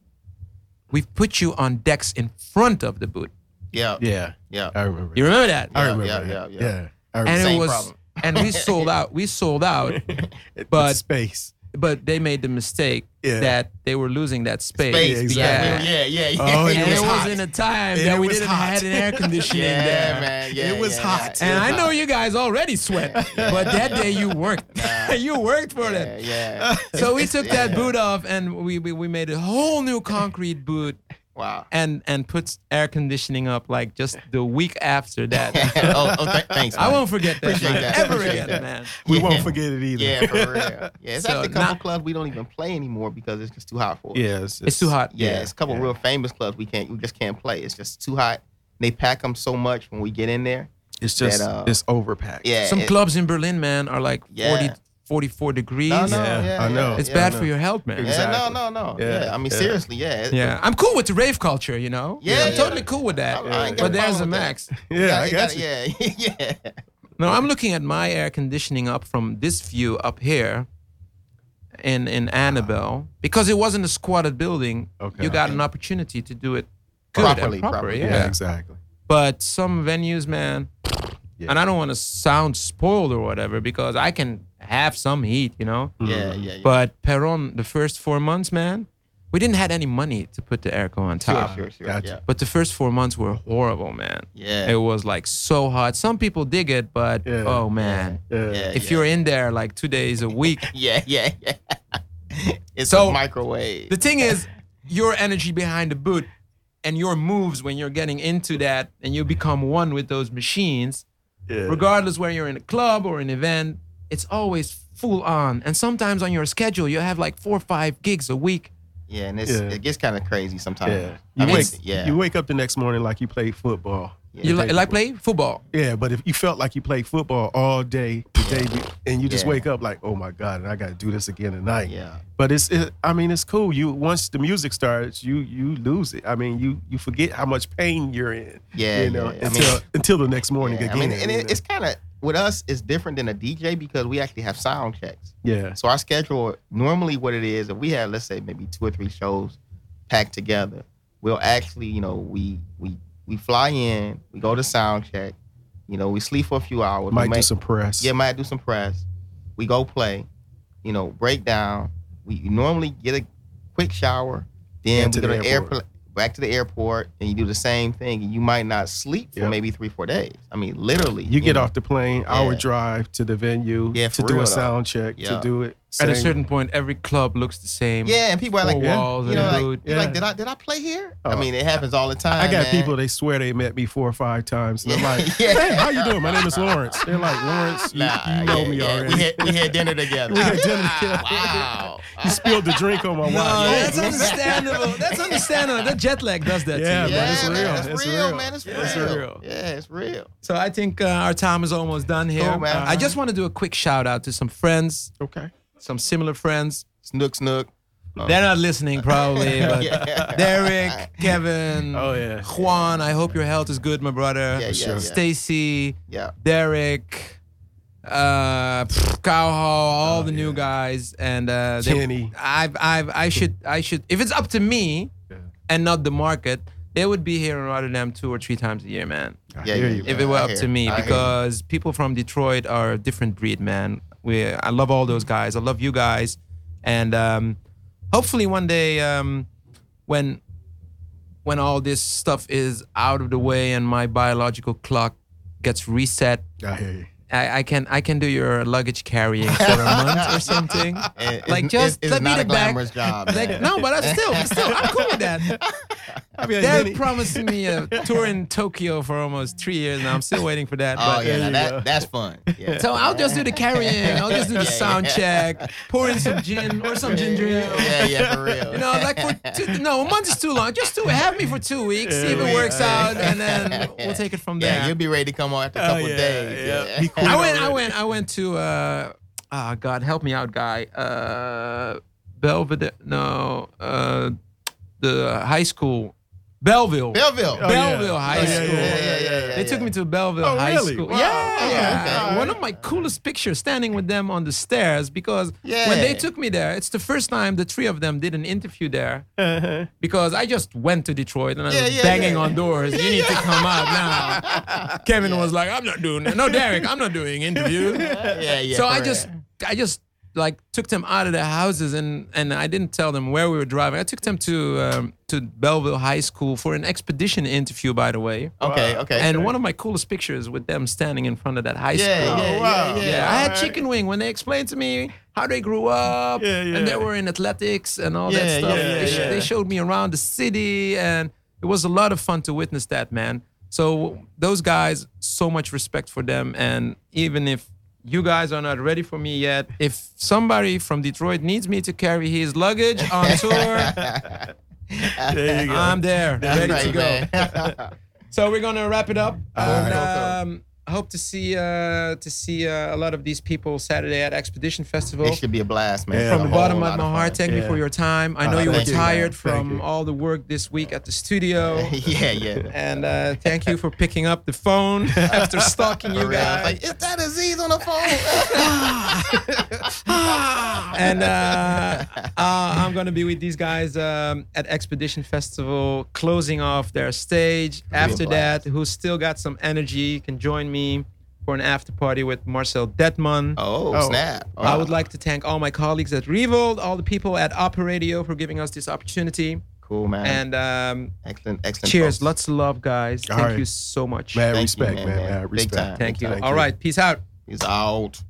[SPEAKER 1] we put you on decks in front of the boot.
[SPEAKER 3] yeah,
[SPEAKER 2] Yeah.
[SPEAKER 3] yeah.
[SPEAKER 2] I remember.
[SPEAKER 1] You remember that?
[SPEAKER 2] I
[SPEAKER 3] Yeah,
[SPEAKER 2] remember.
[SPEAKER 3] yeah,
[SPEAKER 2] that.
[SPEAKER 3] yeah, yeah.
[SPEAKER 2] I remember.
[SPEAKER 1] and
[SPEAKER 3] Same
[SPEAKER 1] it was,
[SPEAKER 3] problem.
[SPEAKER 1] and we sold out. We sold out,
[SPEAKER 2] but
[SPEAKER 1] but
[SPEAKER 2] space.
[SPEAKER 1] but they made the mistake
[SPEAKER 2] Yeah.
[SPEAKER 1] that they were losing that space.
[SPEAKER 3] Space,
[SPEAKER 2] Yeah,
[SPEAKER 3] yeah,
[SPEAKER 2] exactly.
[SPEAKER 1] Yeah.
[SPEAKER 3] yeah, yeah, yeah.
[SPEAKER 2] Oh,
[SPEAKER 1] And
[SPEAKER 2] it
[SPEAKER 1] it was,
[SPEAKER 2] was hot.
[SPEAKER 1] in a time
[SPEAKER 2] And
[SPEAKER 1] that
[SPEAKER 2] it
[SPEAKER 1] we
[SPEAKER 2] was
[SPEAKER 1] didn't
[SPEAKER 2] hot.
[SPEAKER 1] had an air conditioning
[SPEAKER 3] yeah,
[SPEAKER 1] there.
[SPEAKER 3] man. Yeah,
[SPEAKER 2] It was
[SPEAKER 3] yeah,
[SPEAKER 2] hot.
[SPEAKER 3] Yeah.
[SPEAKER 1] And I know you guys already sweat, but that day you worked. you worked for
[SPEAKER 3] Yeah,
[SPEAKER 1] that.
[SPEAKER 3] yeah.
[SPEAKER 1] So we took that boot off and we, we we made a whole new concrete boot
[SPEAKER 3] Wow.
[SPEAKER 1] and and puts air conditioning up like just the week after that.
[SPEAKER 3] oh, oh, th- thanks.
[SPEAKER 1] I
[SPEAKER 3] man.
[SPEAKER 1] won't forget that,
[SPEAKER 3] Appreciate
[SPEAKER 1] shit
[SPEAKER 3] that.
[SPEAKER 1] ever
[SPEAKER 3] Appreciate
[SPEAKER 1] again,
[SPEAKER 3] that.
[SPEAKER 1] man.
[SPEAKER 2] We
[SPEAKER 3] Yeah.
[SPEAKER 2] won't forget it either.
[SPEAKER 3] Yeah, for real. Yeah, it's
[SPEAKER 1] So
[SPEAKER 3] actually a couple
[SPEAKER 1] not-
[SPEAKER 3] clubs we don't even play anymore because it's just too hot for us.
[SPEAKER 2] yeah, it's,
[SPEAKER 1] It's too hot.
[SPEAKER 3] Yeah, it's a couple
[SPEAKER 2] yeah.
[SPEAKER 3] real famous clubs we can't, we just can't play. It's just too hot. They pack them so much when we get in there.
[SPEAKER 2] It's just
[SPEAKER 3] that, uh,
[SPEAKER 2] it's overpacked.
[SPEAKER 3] Yeah,
[SPEAKER 1] Some
[SPEAKER 3] it-
[SPEAKER 1] clubs in Berlin, man, are like 40,
[SPEAKER 3] Yeah.
[SPEAKER 1] 44 degrees.
[SPEAKER 3] No, no,
[SPEAKER 2] Yeah,
[SPEAKER 3] yeah,
[SPEAKER 2] I know.
[SPEAKER 1] It's
[SPEAKER 3] yeah.
[SPEAKER 1] bad
[SPEAKER 2] no.
[SPEAKER 1] for your health, man.
[SPEAKER 3] Yeah,
[SPEAKER 2] Exactly.
[SPEAKER 3] no, no, no.
[SPEAKER 2] Yeah,
[SPEAKER 3] Yeah, I mean,
[SPEAKER 2] yeah.
[SPEAKER 3] seriously, yeah. it-
[SPEAKER 1] Yeah, I'm cool with the rave culture, you know.
[SPEAKER 3] Yeah,
[SPEAKER 1] I'm
[SPEAKER 3] yeah.
[SPEAKER 1] totally cool with that.
[SPEAKER 3] I- I ain't got
[SPEAKER 1] but
[SPEAKER 3] a
[SPEAKER 1] there's
[SPEAKER 3] problem
[SPEAKER 1] a
[SPEAKER 3] with
[SPEAKER 1] max.
[SPEAKER 3] that.
[SPEAKER 2] yeah, I
[SPEAKER 3] you
[SPEAKER 2] got
[SPEAKER 3] gotta-
[SPEAKER 2] you.
[SPEAKER 3] Yeah, yeah.
[SPEAKER 1] No, I'm looking at my air conditioning up from this view up here in in Annabelle because it wasn't a squatted building.
[SPEAKER 2] Okay.
[SPEAKER 1] You got
[SPEAKER 3] Okay.
[SPEAKER 1] an opportunity to do it good
[SPEAKER 3] Properly,
[SPEAKER 1] and proper,
[SPEAKER 3] properly.
[SPEAKER 1] Yeah.
[SPEAKER 2] Yeah, exactly.
[SPEAKER 1] But some venues, man,
[SPEAKER 2] Yeah.
[SPEAKER 1] and I don't want to sound spoiled or whatever because I can have some heat, you know.
[SPEAKER 3] Mm-hmm.
[SPEAKER 2] Mm-hmm.
[SPEAKER 3] Yeah, yeah, yeah.
[SPEAKER 1] But Peron, the first four months, man, we didn't had any money to put the airco on top.
[SPEAKER 3] Sure, sure, sure.
[SPEAKER 2] Gotcha.
[SPEAKER 3] Yeah.
[SPEAKER 1] But the first four months were horrible, man.
[SPEAKER 3] Yeah.
[SPEAKER 1] It was like so hot. Some people dig it, but
[SPEAKER 2] Yeah.
[SPEAKER 1] oh man.
[SPEAKER 2] Yeah.
[SPEAKER 3] Yeah.
[SPEAKER 1] If you're in there like two days a week,
[SPEAKER 3] Yeah, yeah, yeah. It's
[SPEAKER 1] So-
[SPEAKER 3] a microwave.
[SPEAKER 1] the thing is, your energy behind the boot and your moves when you're getting into that and you become one with those machines,
[SPEAKER 2] yeah.
[SPEAKER 1] regardless where you're in a club or an event, it's always full on. And sometimes on your schedule, you have like four or five gigs a week.
[SPEAKER 3] yeah, and it's,
[SPEAKER 2] Yeah.
[SPEAKER 3] it gets kind of crazy sometimes.
[SPEAKER 2] Yeah.
[SPEAKER 3] I
[SPEAKER 2] You
[SPEAKER 3] mean,
[SPEAKER 2] wake
[SPEAKER 3] it's- yeah.
[SPEAKER 2] you wake up the next morning like you played football.
[SPEAKER 3] Yeah.
[SPEAKER 1] You
[SPEAKER 2] The
[SPEAKER 1] li-
[SPEAKER 2] day
[SPEAKER 1] like
[SPEAKER 2] before.
[SPEAKER 1] play football.
[SPEAKER 2] Yeah, but if you felt like you played football all day the day be- and you just
[SPEAKER 3] Yeah.
[SPEAKER 2] wake up like, "Oh my god, and I got to do this again tonight."
[SPEAKER 3] yeah.
[SPEAKER 2] But it's it, I mean, it's cool. You once the music starts, you you lose it. I mean, you you forget how much pain you're in.
[SPEAKER 3] Yeah,
[SPEAKER 2] you know,
[SPEAKER 3] yeah, yeah. I mean-
[SPEAKER 2] until until the next morning
[SPEAKER 3] Yeah, I
[SPEAKER 2] again.
[SPEAKER 3] mean, and
[SPEAKER 2] you
[SPEAKER 3] it,
[SPEAKER 2] know.
[SPEAKER 3] it's kind of with us. It's different than a DJ because we actually have sound checks.
[SPEAKER 2] yeah.
[SPEAKER 3] So our schedule normally what it is if we have let's say maybe two or three shows packed together, we'll actually you know we we we fly in, we go to sound check, you know we sleep for a few hours,
[SPEAKER 2] Might
[SPEAKER 3] we
[SPEAKER 2] do
[SPEAKER 3] make-
[SPEAKER 2] some press.
[SPEAKER 3] yeah might do some press, we go play, you know break down. We normally get a quick shower, then
[SPEAKER 2] And to
[SPEAKER 3] we go
[SPEAKER 2] the
[SPEAKER 3] to the
[SPEAKER 2] airport.
[SPEAKER 3] airport. Back to the airport, and you do the same thing, and you might not sleep for
[SPEAKER 2] Yep.
[SPEAKER 3] maybe three, four days. I mean, literally.
[SPEAKER 2] You get
[SPEAKER 3] know.
[SPEAKER 2] off the plane, hour
[SPEAKER 3] Yeah.
[SPEAKER 2] drive to the venue
[SPEAKER 3] Yeah,
[SPEAKER 2] to
[SPEAKER 3] for
[SPEAKER 2] do
[SPEAKER 3] real
[SPEAKER 2] a
[SPEAKER 3] though.
[SPEAKER 2] sound check to
[SPEAKER 3] Yeah.
[SPEAKER 2] do it.
[SPEAKER 1] At a
[SPEAKER 2] Same-
[SPEAKER 1] certain point, every club looks the same.
[SPEAKER 3] Yeah, and people are
[SPEAKER 1] Four
[SPEAKER 3] like,
[SPEAKER 1] walls
[SPEAKER 3] you
[SPEAKER 1] and
[SPEAKER 3] know,
[SPEAKER 1] a
[SPEAKER 3] like,
[SPEAKER 1] boot.
[SPEAKER 3] you're
[SPEAKER 2] Yeah.
[SPEAKER 3] like, did I did I play here? I
[SPEAKER 2] Oh.
[SPEAKER 3] mean, it happens all the time.
[SPEAKER 2] I got
[SPEAKER 3] man.
[SPEAKER 2] people they swear they met me four or five times, and I'm
[SPEAKER 3] Yeah.
[SPEAKER 2] like,
[SPEAKER 3] Yeah.
[SPEAKER 2] "Hey, how you doing? My name is Lawrence." They're like, "Lawrence, you,
[SPEAKER 3] Nah,
[SPEAKER 2] you know
[SPEAKER 3] yeah,
[SPEAKER 2] me
[SPEAKER 3] yeah.
[SPEAKER 2] already."
[SPEAKER 3] We had, we had dinner together.
[SPEAKER 2] We had dinner
[SPEAKER 3] Ah,
[SPEAKER 2] together.
[SPEAKER 3] Wow.
[SPEAKER 2] you spilled the drink on my wife.
[SPEAKER 1] No, that's
[SPEAKER 3] yeah.
[SPEAKER 1] understandable. That's understandable. That jet lag does that
[SPEAKER 2] Yeah,
[SPEAKER 1] to you.
[SPEAKER 2] man,
[SPEAKER 1] man.
[SPEAKER 2] it's
[SPEAKER 3] man,
[SPEAKER 2] real.
[SPEAKER 3] That's
[SPEAKER 2] It's
[SPEAKER 3] real,
[SPEAKER 2] real.
[SPEAKER 3] man. It's real.
[SPEAKER 2] It's real.
[SPEAKER 3] Yeah, it's real.
[SPEAKER 1] So I think uh, our time is almost done here.
[SPEAKER 3] Cool, man.
[SPEAKER 1] Uh, I just want to do a quick shout out to some friends,
[SPEAKER 2] Okay.
[SPEAKER 1] some similar friends.
[SPEAKER 3] Snook, snook. Oh.
[SPEAKER 1] They're not listening probably, but
[SPEAKER 3] Yeah.
[SPEAKER 1] Derek, Kevin,
[SPEAKER 2] Oh, yeah.
[SPEAKER 1] Juan, I hope your health is good, my brother.
[SPEAKER 3] Yeah, yeah, yeah.
[SPEAKER 1] Stacy,
[SPEAKER 3] Yeah.
[SPEAKER 1] Derek, uh, pff, Cow Hall, all
[SPEAKER 2] Oh,
[SPEAKER 1] the new
[SPEAKER 2] yeah.
[SPEAKER 1] guys, and uh, they-
[SPEAKER 2] Kenny.
[SPEAKER 1] I've, I've, I should, I should. If it's up to me,
[SPEAKER 2] Yeah.
[SPEAKER 1] and not the market, they would be here in Rotterdam two or three times a year, man.
[SPEAKER 2] I
[SPEAKER 3] Yeah,
[SPEAKER 2] hear
[SPEAKER 3] yeah,
[SPEAKER 2] you,
[SPEAKER 3] yeah.
[SPEAKER 1] If it were
[SPEAKER 3] I
[SPEAKER 1] up
[SPEAKER 3] hear
[SPEAKER 1] to
[SPEAKER 3] you.
[SPEAKER 1] me,
[SPEAKER 3] I hear you.
[SPEAKER 1] because people from Detroit are a different breed, man. We, I love all those guys. I love you guys, and um, hopefully one day, um, when when all this stuff is out of the way and my biological clock gets reset,
[SPEAKER 2] I hear you.
[SPEAKER 1] I, I can I can do your luggage carrying for a month or something.
[SPEAKER 3] And it's-
[SPEAKER 1] Like, just
[SPEAKER 3] it's, it's
[SPEAKER 1] let me
[SPEAKER 3] not
[SPEAKER 1] the
[SPEAKER 3] a
[SPEAKER 1] back.
[SPEAKER 3] glamorous job.
[SPEAKER 1] Like
[SPEAKER 3] man.
[SPEAKER 1] no, but I'm still still I'm cool with that.
[SPEAKER 2] I mean,
[SPEAKER 1] They're
[SPEAKER 2] Kenny-
[SPEAKER 1] promising me a tour in Tokyo for almost three years now. I'm still waiting for that.
[SPEAKER 3] Oh
[SPEAKER 1] but-
[SPEAKER 3] yeah,
[SPEAKER 2] There
[SPEAKER 3] now
[SPEAKER 2] you go.
[SPEAKER 3] that that's fun. Yeah.
[SPEAKER 1] So I'll just do the carrying. I'll just do the
[SPEAKER 3] Yeah,
[SPEAKER 1] sound
[SPEAKER 3] yeah.
[SPEAKER 1] check, pour in some gin or some ginger ale.
[SPEAKER 3] Yeah, yeah, for real.
[SPEAKER 1] You know, like for two, no, a month is too long. Just do it. Have me for two weeks, see if it
[SPEAKER 2] Yeah.
[SPEAKER 1] works out, and then we'll take it from
[SPEAKER 3] Yeah,
[SPEAKER 1] there.
[SPEAKER 3] you'll be ready to come on after a
[SPEAKER 2] Oh,
[SPEAKER 3] couple
[SPEAKER 2] yeah,
[SPEAKER 3] days.
[SPEAKER 2] yeah.
[SPEAKER 3] Yeah.
[SPEAKER 2] Be cool.
[SPEAKER 1] I went, I went, I went to. uh Ah, God, help me out, guy. Uh, Belvedere. No, uh, the high school, Belleville.
[SPEAKER 3] Belleville.
[SPEAKER 2] Oh, yeah.
[SPEAKER 1] Belleville High
[SPEAKER 2] Oh,
[SPEAKER 1] School.
[SPEAKER 2] yeah, yeah,
[SPEAKER 3] yeah, yeah, yeah,
[SPEAKER 1] they took
[SPEAKER 3] yeah.
[SPEAKER 1] me to Belleville
[SPEAKER 2] Oh,
[SPEAKER 1] High
[SPEAKER 2] really?
[SPEAKER 1] School.
[SPEAKER 2] Wow.
[SPEAKER 1] Yeah,
[SPEAKER 3] Okay,
[SPEAKER 1] yeah.
[SPEAKER 3] okay.
[SPEAKER 1] One of my coolest pictures standing with them on the stairs because
[SPEAKER 3] Yeah.
[SPEAKER 1] when they took me there, it's the first time the three of them did an interview there
[SPEAKER 2] Uh-huh.
[SPEAKER 1] because I just went to Detroit and I
[SPEAKER 3] Yeah,
[SPEAKER 1] was
[SPEAKER 3] yeah,
[SPEAKER 1] banging
[SPEAKER 3] yeah.
[SPEAKER 1] on doors. You need to come out now. Kevin was like, I'm not doing that. No, Derek, I'm not doing interview.
[SPEAKER 3] Yeah, yeah.
[SPEAKER 1] so
[SPEAKER 3] for
[SPEAKER 1] I
[SPEAKER 3] real.
[SPEAKER 1] just I just like took them out of their houses and and I didn't tell them where we were driving. I took them to um, to Belleville High School for an expedition interview, by the way.
[SPEAKER 3] Okay, okay.
[SPEAKER 1] And one of my coolest pictures with them standing in front of that high
[SPEAKER 3] yeah,
[SPEAKER 1] school.
[SPEAKER 3] yeah,
[SPEAKER 2] Oh, wow.
[SPEAKER 3] yeah, yeah,
[SPEAKER 1] Yeah, I had
[SPEAKER 2] alright.
[SPEAKER 1] chicken wing when they explained to me how they grew up
[SPEAKER 2] Yeah, yeah.
[SPEAKER 1] and they were in athletics and all
[SPEAKER 3] Yeah,
[SPEAKER 1] that stuff.
[SPEAKER 3] yeah,
[SPEAKER 1] they, sh-
[SPEAKER 3] yeah.
[SPEAKER 1] they showed me around the city and it was a lot of fun to witness that, man. So those guys, so much respect for them. And even if you guys are not ready for me yet, if somebody from Detroit needs me to carry his luggage on tour,
[SPEAKER 2] There you go.
[SPEAKER 1] I'm there,
[SPEAKER 3] That's
[SPEAKER 1] ready to
[SPEAKER 3] right,
[SPEAKER 1] go.
[SPEAKER 3] man.
[SPEAKER 1] So we're gonna wrap it up.
[SPEAKER 2] Alright.
[SPEAKER 1] And, um, hope to see uh, to see uh, a lot of these people Saturday at Expedition Festival.
[SPEAKER 3] it should be a blast, man.
[SPEAKER 2] Yeah.
[SPEAKER 3] It's Oh,
[SPEAKER 2] From
[SPEAKER 3] a
[SPEAKER 1] From the
[SPEAKER 3] whole
[SPEAKER 1] bottom
[SPEAKER 3] lot
[SPEAKER 1] of my
[SPEAKER 3] fun.
[SPEAKER 1] heart, thank you
[SPEAKER 2] Yeah.
[SPEAKER 1] for your time. I know
[SPEAKER 2] Ah,
[SPEAKER 1] you were
[SPEAKER 3] thank you, man.
[SPEAKER 1] tired
[SPEAKER 2] Thank
[SPEAKER 1] from
[SPEAKER 2] you.
[SPEAKER 1] all the work this week at the studio.
[SPEAKER 3] yeah, yeah.
[SPEAKER 1] And uh, thank you for picking up the phone after stalking
[SPEAKER 3] For
[SPEAKER 1] you
[SPEAKER 3] real. It's
[SPEAKER 1] guys.
[SPEAKER 3] like, is that Aziz on the phone?
[SPEAKER 1] And uh, uh, I'm going to be with these guys um, at Expedition Festival, closing off their stage. After that,
[SPEAKER 3] blast.
[SPEAKER 1] who's still got some energy can join me for an after party with Marcel Detman.
[SPEAKER 3] oh,
[SPEAKER 2] Oh.
[SPEAKER 3] snap.
[SPEAKER 1] I would like to thank all my colleagues at Revolt, all the people at Opera Radio for giving us this opportunity.
[SPEAKER 3] Cool, man.
[SPEAKER 1] And um,
[SPEAKER 3] excellent, excellent.
[SPEAKER 1] cheers.
[SPEAKER 3] folks.
[SPEAKER 1] Lots of love, guys.
[SPEAKER 2] All
[SPEAKER 1] Thank
[SPEAKER 2] right.
[SPEAKER 1] you so much.
[SPEAKER 2] Mad
[SPEAKER 3] you,
[SPEAKER 2] respect,
[SPEAKER 3] man,
[SPEAKER 2] man.
[SPEAKER 3] man.
[SPEAKER 2] Mad
[SPEAKER 3] Big
[SPEAKER 2] respect.
[SPEAKER 3] time.
[SPEAKER 1] Thank you.
[SPEAKER 2] Thank
[SPEAKER 1] All
[SPEAKER 2] you.
[SPEAKER 1] right. Peace out.
[SPEAKER 3] He's out.